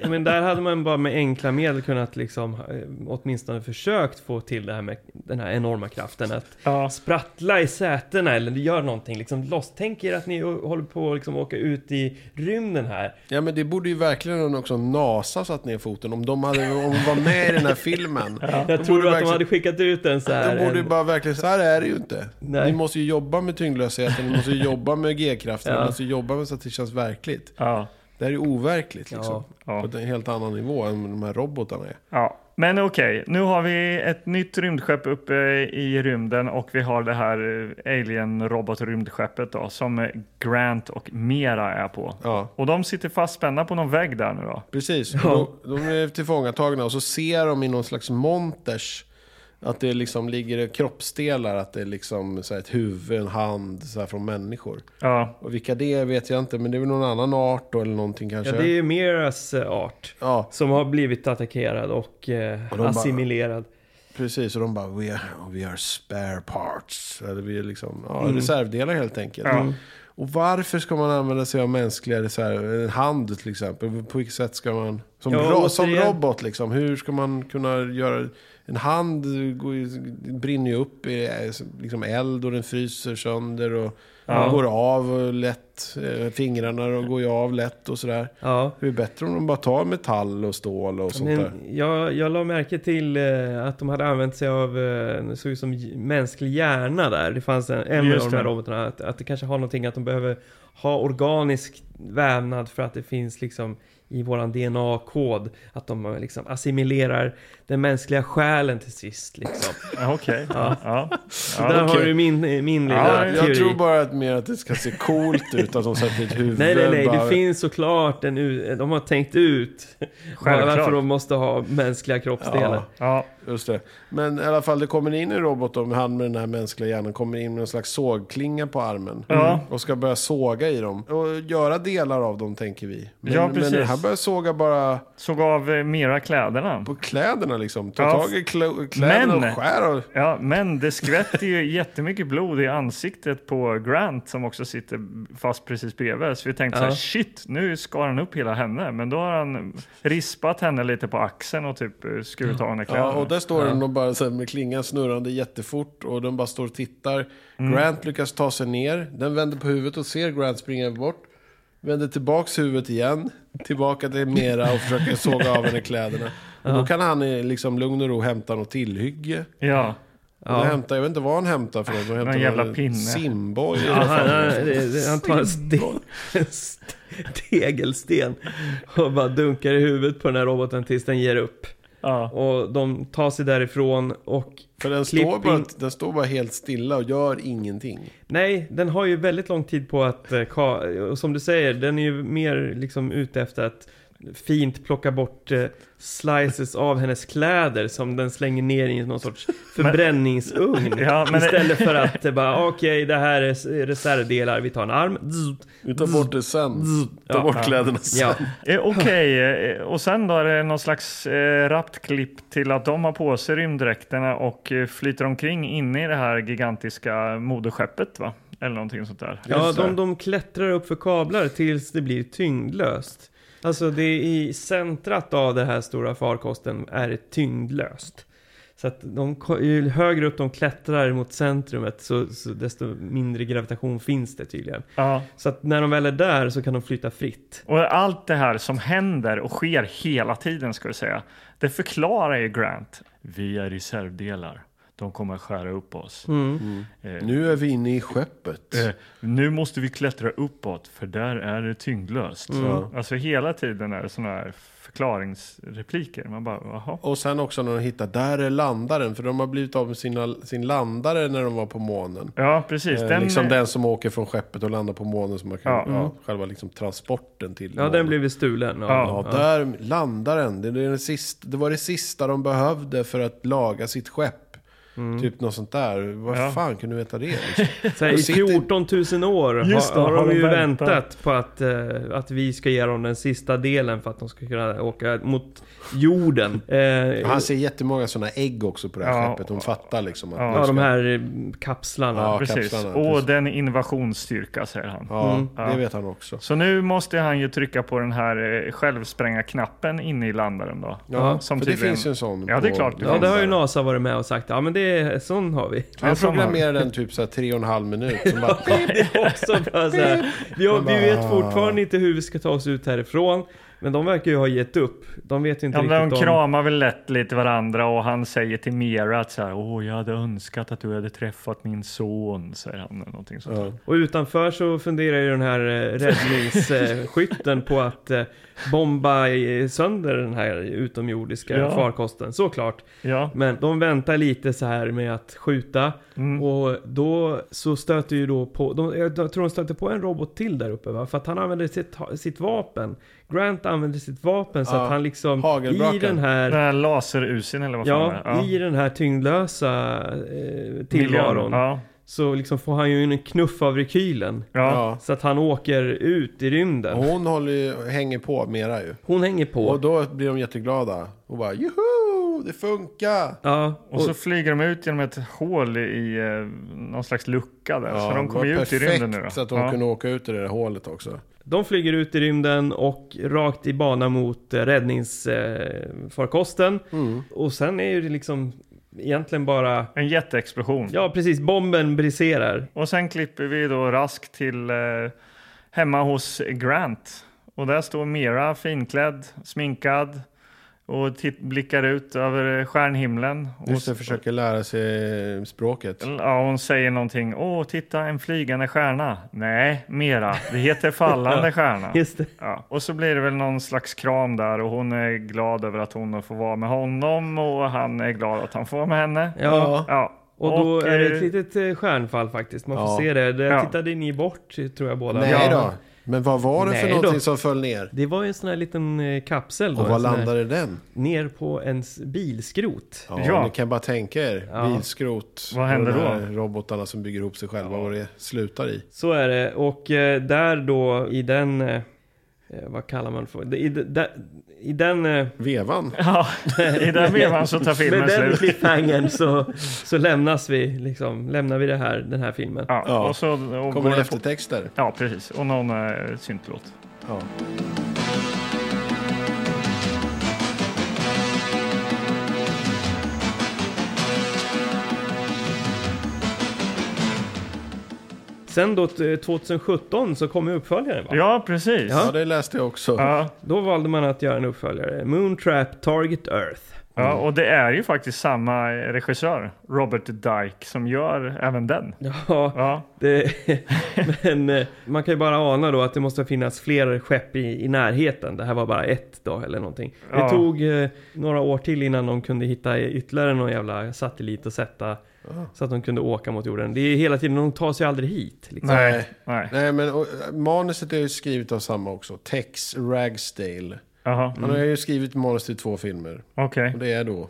Ja, Men där hade man bara med enkla medel kunnat liksom eh, åtminstone försökt få till det här med den här enorma kraften att
Ja.
sprattla i sätena eller gör någonting liksom loss. Tänk er att ni o- håller på att liksom åka ut i rymden här.
ja, men det borde ju verkligen också NASA satt ner foten om de, hade, om de var med i den här filmen.
Jag
borde
tror att de
verkligen-
hade skickat ut en så här.
De borde ju
en-
bara verkligen, så här är det ju inte.
Nej.
Ni måste ju jobba med tyngdlösheten, ni måste ju jobba med G-kraften,
Ja.
ni måste ju jobba med så att det känns verkligt.
Ja.
Det här är ju overkligt liksom.
Ja.
På en helt annan nivå än de här robotarna är.
Ja, men okej. Nu har vi ett nytt rymdskepp uppe i rymden och vi har det här eh, alien-robot-rymdskeppet då som eh, Grant och Mera är på.
Ja.
Och de sitter fastspända på någon vägg där nu då.
Precis, och då, de är tillfångatagna och så ser de i någon slags monters att det liksom ligger kroppsdelar, att det är liksom så här ett huvud, en hand så här från människor.
Ja,
Och vilka det är vet jag inte, men det är väl någon annan art då, eller någonting
Ja,
kanske.
det är ju Meras eh, art.
Ja,
Som har blivit attackerad och, eh,
Och de bara-
assimilerad.
precis. Och de bara, we are, we are spare parts. Eller vi är liksom, ja,
Mm.
reservdelar helt enkelt.
Ja.
Och varför ska man använda sig av mänskliga reserver? En hand till exempel. På vilket sätt ska man... Som,
Ja,
ro, som
återigen.
robot liksom. Hur ska man kunna göra... En hand går ju, brinner ju upp i eh, liksom eld och den fryser sönder. Och
Ja.
går av och lätt. eh, Fingrarna då går ju av lätt och sådär.
Ja.
Det är bättre om de bara tar metall och stål och sånt där.
Men jag, jag la märke till eh, att de hade använt sig av, eh, det såg ut som j- mänsklig hjärna där. Det fanns en, en av
Just
de här
det.
robotarna, att, att det kanske har någonting att de behöver ha organisk vävnad för att det finns liksom i våran DNA-kod att de eh, liksom assimilerar den mänskliga själen till sist liksom.
ja, okej. Ja. Ja.
Så där har
okej.
du min, eh, min
Ja,
lilla teori.
Jag tror bara att mer att det ska se coolt ut att de sätter ett huvud.
Nej, nej, nej.
bara-
Det finns såklart en... u- De har tänkt ut
Självklart.
varför de måste ha mänskliga kroppsdelar.
Ja.
Just det. Men i alla fall, det kommer in en robot då, med han med den här mänskliga hjärnan, kommer in med en slags sågklinga på armen.
Ja. Mm.
Och ska börja såga i dem. Och göra delar av dem, tänker vi. Men,
Ja,
men
precis.
den här börjar såga bara
Såg av eh, Mera kläderna.
på kläderna liksom. Ta
Ja.
tag i klo- kläderna
Men-
och skär. Och,
Ja, men det skvätter ju jättemycket blod i ansiktet på Grant som också sitter fast precis bredvid. Så vi tänkte så
Ja.
här, shit, nu skar han upp hela henne. Men då har han rispat henne lite på axeln och typ eh, skurit av henne
ja,
kläderna.
och där står den och bara så här, med klingan snurrande jättefort. Och den bara står och tittar. Grant lyckas ta sig ner. Den vänder på huvudet och ser Grant springa bort. Vänder tillbaks huvudet igen. Tillbaka till Mera och försöker såga av henne kläderna. Och då kan han i liksom lugn och ro hämta något tillhygge.
Ja,
Och då hämtar, jag vet inte vad han hämtar för något. Han hämtar
jävla
en
pinne.
Simboy i
Ja,
alla
han,
fall.
han, han tar en, ste, en st- tegelsten och bara dunkar i huvudet på den här roboten tills den ger upp.
ja.
Och de tar sig därifrån och...
För den står,
klipp
bara,
in-
den står bara helt stilla och gör ingenting.
Nej, den har ju väldigt lång tid på att... eh, ka- Och som du säger, den är ju mer liksom ute efter att fint plocka bort eh, slices av hennes kläder som den slänger ner i någon sorts förbränningsugn.
Ja, men-
istället för att eh, bara, okej, det här är s- reservdelar, vi tar en arm. Zzz,
Vi tar bort det sen. Ta
Ja.
bort kläderna sen.
Ja,
Eh, Okej, eh, och sen då är det någon slags eh, rappt klipp till att de har på sig rymddräkterna och eh, flyter omkring inne i det här gigantiska moderskeppet va? Eller någonting sånt där.
ja de, de klättrar upp för kablar tills det blir tyngdlöst. Alltså det är i centrat av den här stora farkosten är det tyngdlöst. Så att de, ko- ju högre upp de klättrar mot centrumet så, så desto mindre gravitation finns det tydligen.
Ja.
Så att när de väl är där så kan de flyta fritt.
Och allt det här som händer och sker hela tiden ska jag säga, det förklarar ju Grant. Vi är reservdelar. De kommer skära upp oss.
Mm. Nu är vi inne i skeppet.
Eh, Nu måste vi klättra uppåt för där är det tyngdlöst.
Mm.
Alltså hela tiden är det sådana här förklaringsrepliker. Man bara, jaha.
Och sen också när de hittar, där är landaren. För de har blivit av med sina, sin landare när de var på månen.
Ja, precis.
Den,
Den,
liksom den som åker från skeppet och landar på månen. Som man kan,
Ja.
Mm.
ja, själva liksom transporten till
Ja, den blev ju stulen. av
Ja.
Ja,
dem.
där landar den. Det, är den sista, det var det sista de behövde för att laga sitt skepp. Typ något sånt där. Vad
Mm. Ja.
fan kunde du veta det? Liksom?
Så här, I
Och sitter-
14 000 år
Just
har,
det,
har
har
de
de
ju
väntat.
väntat, på att, eh, att vi ska ge dem den sista delen för att de ska kunna åka mot jorden. Eh,
Han ser jättemånga sådana ägg också på det här
Ja.
skeppet. De fattar liksom att... nu
ja,
ska-
de här eh, kapslarna.
Ja,
precis.
kapslarna,
Och
precis.
den invasionsstyrka, säger han.
Ja,
Mm. Ja.
det vet han också.
Så nu måste han ju trycka på den här eh, självspränga-knappen inne i landaren då.
Ja,
Som
för det
tydligen-
finns ju en sån.
Ja, det är
på-
klart.
Ja, det har ju NASA varit med och sagt. Ja, men det är, sån har vi.
Han
Ja, som har-
programmerar den typ så här tre och en halv minut. Som bara, Ah.
Det är också bara så här, vi, har, vi vet fortfarande inte hur vi ska ta oss ut härifrån. Men de verkar ju ha gett upp. De vet inte
Ja,
riktigt
men de
om...
kramar väl lätt lite varandra och han säger till Mira att så här, Åh, jag hade önskat att du hade träffat min son, säger han. Eller någonting sånt. där.
Ja.
Och utanför så funderar ju den här eh, räddningsskytten på att eh, bomba i- sönder den här utomjordiska
Ja.
farkosten, såklart.
Ja.
Men de väntar lite så här med att skjuta
Mm.
och då så stöter ju då på, de, jag tror de stöter på en robot till där uppe va? För att han använder sitt, sitt vapen. Grant använder sitt vapen så
Ja,
att han liksom i
hagelbraken.
den här
Den här laserusin eller vad fan
Ja,
det är.
i den här tyngdlösa eh,
Miljön.
tillvaron
Ja.
så liksom får han ju en knuff av rekylen.
Ja.
Ja.
Så att han åker ut i rymden.
Och Hon håller ju, hänger på mera ju.
Hon hänger på.
Och då blir de jätteglada. Och bara juhu, det funkar!
ja, och,
Och så flyger de ut genom ett hål i eh, någon slags lucka där. så
Ja,
de
det
kommer
var
ju ut i rymden nu då.
perfekt Så att de
ja.
kunde åka ut i det där hålet också.
de flyger ut i rymden och rakt i bana mot eh, räddningsfarkosten.
Mm.
Och sen är ju det liksom egentligen bara...
En jätteexplosion.
Ja, precis. Bomben briserar.
Och sen klipper vi då raskt till eh, hemma hos Grant. Och där står Mira finklädd, sminkad och titt- blickar ut över stjärnhimlen. Och,
Just det, försöker lära sig språket.
Mm.
ja, hon säger någonting. Åh, titta en flygande stjärna. Nej, Mira, det heter fallande stjärna.
Just det.
Ja, och så blir det väl någon slags kram där och hon är glad över att hon får vara med honom och han är glad att han får vara med henne.
Ja.
Ja.
Och då är det
eh,
ett litet eh, stjärnfall faktiskt. Man får
Ja.
se det. Det
Ja.
tittade ni bort, tror jag båda.
Nej
Ja.
då. Men vad var det för
Nej
någonting
då.
som föll ner?
Det var ju en sån här liten eh, kapsel då.
Och
en
vad
sån här-
landade den?
Ner på ens bilskrot.
Ja,
Ja.
Ni kan bara tänka er.
Ja.
Bilskrot.
Vad händer
och de
då?
här Robotarna som bygger ihop sig själva. Vad det slutar i.
Så är det. Och eh, där då i den... eh, eh, Vad kallar man för? I, d- där, i den... eh,
Vevan.
Ja, i den vevan så tar filmen
Med den
slut.
cliffhangern så, så lämnas vi liksom, lämnar vi det här, den här filmen.
Ja,
Ja.
Och så och
Kommer
går
det
det på,
eftertexter?
Ja, precis. Och någon eh, syntlåt.
Ja.
Sen då t- 2017 så kom ju uppföljaren va?
Ja, precis.
Ja,
Ja.
det läste jag också.
Ja,
Då valde man att göra en uppföljare. Moontrap Target Earth.
Mm.
och det är ju faktiskt samma regissör, Robert Dyke, som gör även den.
Ja,
Ja,
det, men eh, man kan ju bara ana då att det måste finnas fler skepp i, i närheten. Det här var bara ett då eller någonting. Det
Ja.
tog eh, några år till innan de kunde hitta ytterligare någon jävla satellit och sätta så att de kunde åka mot jorden. Det är hela tiden, de tar sig aldrig hit. Liksom.
nej. nej.
Nej, men och, eh, manuset är ju skrivet av samma också. Tex Ragsdale.
Jaha,
Han har ju skrivit manus till två filmer.
okej.
Och det är då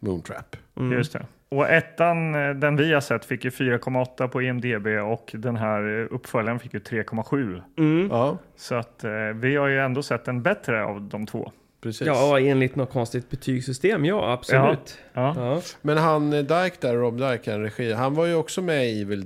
Moontrap.
Just det. Och ettan, eh, den vi har sett, fick ju 4,8 på IMDB och den här eh, uppföljaren fick ju 3,7.
Ja,
Så att eh, vi har ju ändå sett en bättre av de två.
precis.
Ja, enligt något konstigt betygssystem, ja absolut.
Ja.
Ja.
Men han eh, Dyke där, Rob Dyke, han regi, han var ju också med i Evil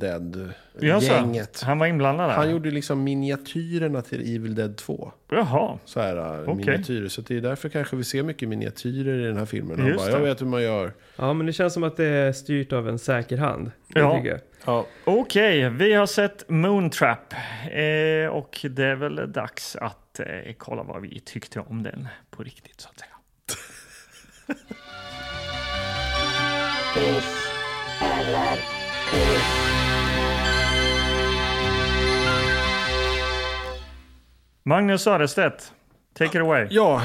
Ja, så.
Dead-gänget.
Han var inblandad där?
Han gjorde ju liksom miniatyrerna till Evil Dead 2.
Jaha.
Så här, eh,
Okej.
miniatyrer. Så det är därför kanske vi ser mycket miniatyrer i den här filmen. Han
Just
bara, jag
det.
vet hur man gör.
ja, men det känns som att det är styrt av en säker hand. Det
Ja.
tycker jag.
Ja,
Okej, vi har sett Moontrap eh, och det är väl dags att eh, kolla vad vi tyckte om den på riktigt så att säga. Magnus Örestedt, take it away.
ja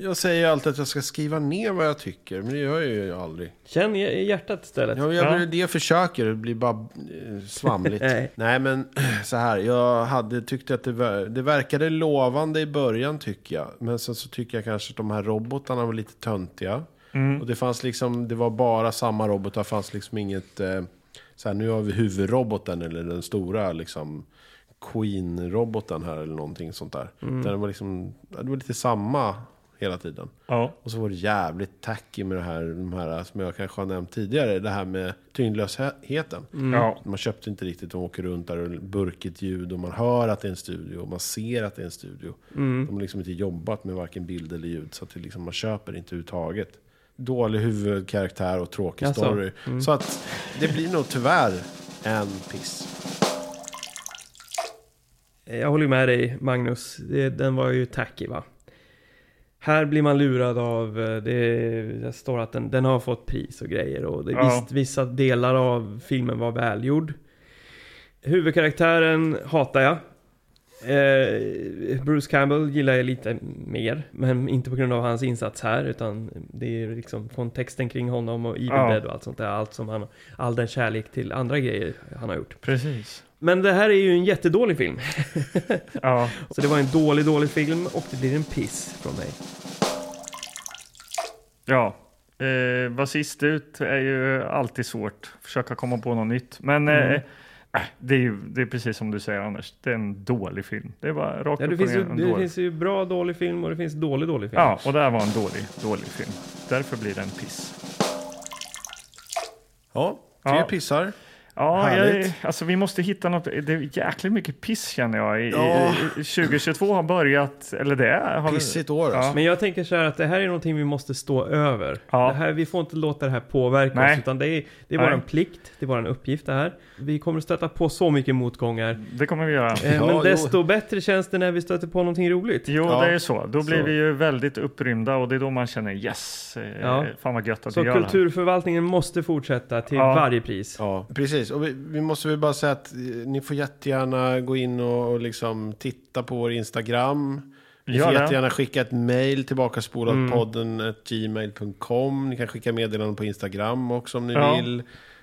jag säger ju alltid att jag ska skriva ner vad jag tycker, men det gör jag ju aldrig.
Känn i i hjärtat istället.
Ja, men
Ja.
jag, det jag försöker, det blir bara eh, svamligt.
Nej.
Nej. men så här, jag hade tyckt att det, ver- det verkade lovande i början tycker jag. Men sen så tycker jag kanske att de här robotarna var lite töntiga. Och det fanns liksom, det var bara samma robotar, det fanns liksom inget, eh, så här nu har vi huvudroboten eller den stora liksom Queen-roboten här eller någonting sånt där. Där det var liksom, ja, det var lite samma hela tiden.
Ja.
Och så var det jävligt tacky med det här, de här som jag kanske har nämnt tidigare, det här med tyngdlösheten.
Ja.
Man köpte inte riktigt, de åker runt där och burkigt ljud och man hör att det är en studio och man ser att det är en studio. De har liksom inte jobbat med varken bild eller ljud så att det liksom, man köper inte överhuvudtaget. Dålig huvudkaraktär och tråkig
Jaså?
story. Så att det blir nog tyvärr en piss.
Jag håller med dig Magnus. Det- Den var ju tacky va? Här blir man lurad av, eh, det, det står att den, den har fått pris och grejer och det,
Ja.
visst, vissa delar av filmen var välgjord. Huvudkaraktären hatar jag. Eh, Bruce Campbell gillar jag lite mer, men inte på grund av hans insats här, utan det är liksom kontexten kring honom och Evil
Ja.
Dead och allt sånt där, allt som han, all den kärlek till andra grejer han har gjort.
Precis.
Men det här är ju en jättedålig film.
Ja.
Så det var en dålig, dålig film och det blir en piss från mig.
Ja, eh, vara sist ut är ju alltid svårt. Försöka komma på något nytt. Men
Mm.
eh, äh, det, är ju, det är precis som du säger Anders, det är en dålig film. Det är bara rakt
Ja, det,
upp
finns
och
ju,
ner. en
det
dålig.
finns ju bra, dålig film och det finns dålig, dålig film.
Ja, och det här var en dålig, dålig film. Därför blir det en piss.
Ja, tre
Ja.
pissar.
Ja, jag,
Härligt.
alltså vi måste hitta något. Det är jäkligt mycket piss känner jag. I,
Ja.
i, 2022 har börjat, eller det är- har vi-
Pissigt år alltså.
Men jag tänker så här att det här är någonting vi måste stå över.
Ja.
Det här, vi får inte låta det här påverka
Nej.
oss, utan det är, det är vår
Nej.
plikt, det är vår uppgift det här. Vi kommer att stöta på så mycket motgångar.
Det kommer vi göra.
Eh,
Ja,
men
jo.
desto bättre känns det när vi stöter på någonting roligt.
Jo,
Ja.
det är ju så. Då blir
Så.
vi ju väldigt upprymda och det är då man känner yes, eh,
Ja.
fan vad gött att
Så
vi gör det här.
kulturförvaltningen måste fortsätta till
Ja.
varje pris.
Ja, precis. Och vi, vi måste väl bara säga att eh, ni får jättegärna gå in och, och liksom titta på vår Instagram. Ni
Gör
får
det. Mm.
jättegärna skicka ett mejl tillbaka spolatpodden gmail.com. Ni kan skicka meddelanden på Instagram också om ni
Ja.
vill.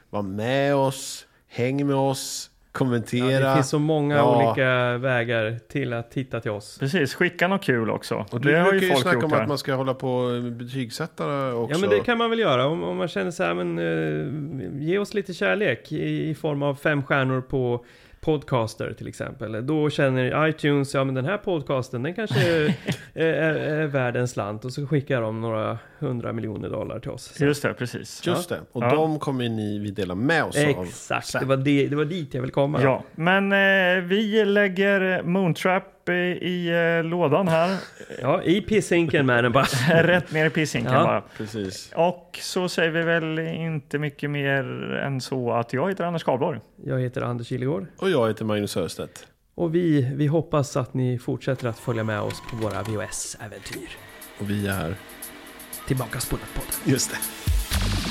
Var med oss, häng med oss,
Ja,
kommentera.
det finns så många
Ja.
olika vägar till att titta till oss.
Precis, skicka något kul också.
Och
det
du
har
brukar
ju
ju
folk
snacka
gjort
om
här.
att man ska hålla på och betygsätta också.
Ja men det kan man väl göra om, om man känner så här, men eh, ge oss lite kärlek i, i form av fem stjärnor på podcaster till exempel. Då känner iTunes, ja men den här podcasten den kanske är, är, är värd en slant och så skickar de några hundra miljoner dollar till oss. Så,
Just det, precis.
Just det. Och
Ja.
de kommer ju ni vi dela med oss av.
exakt, det var, det, det var dit jag ville komma.
Ja, men eh, vi lägger Moontrap eh, i eh, lådan här.
Ja, i pissinken med den bara.
Rätt ner i pissinken
Ja.
bara.
Precis.
Och så säger vi väl inte mycket mer än så att jag heter Anders Karlborg.
Jag heter Anders Kilegård
Och jag heter Magnus Östedt.
och vi, vi hoppas att ni fortsätter att följa med oss på våra VHS-äventyr.
Och vi är här.
Tillbaka spolat podden.
Just det.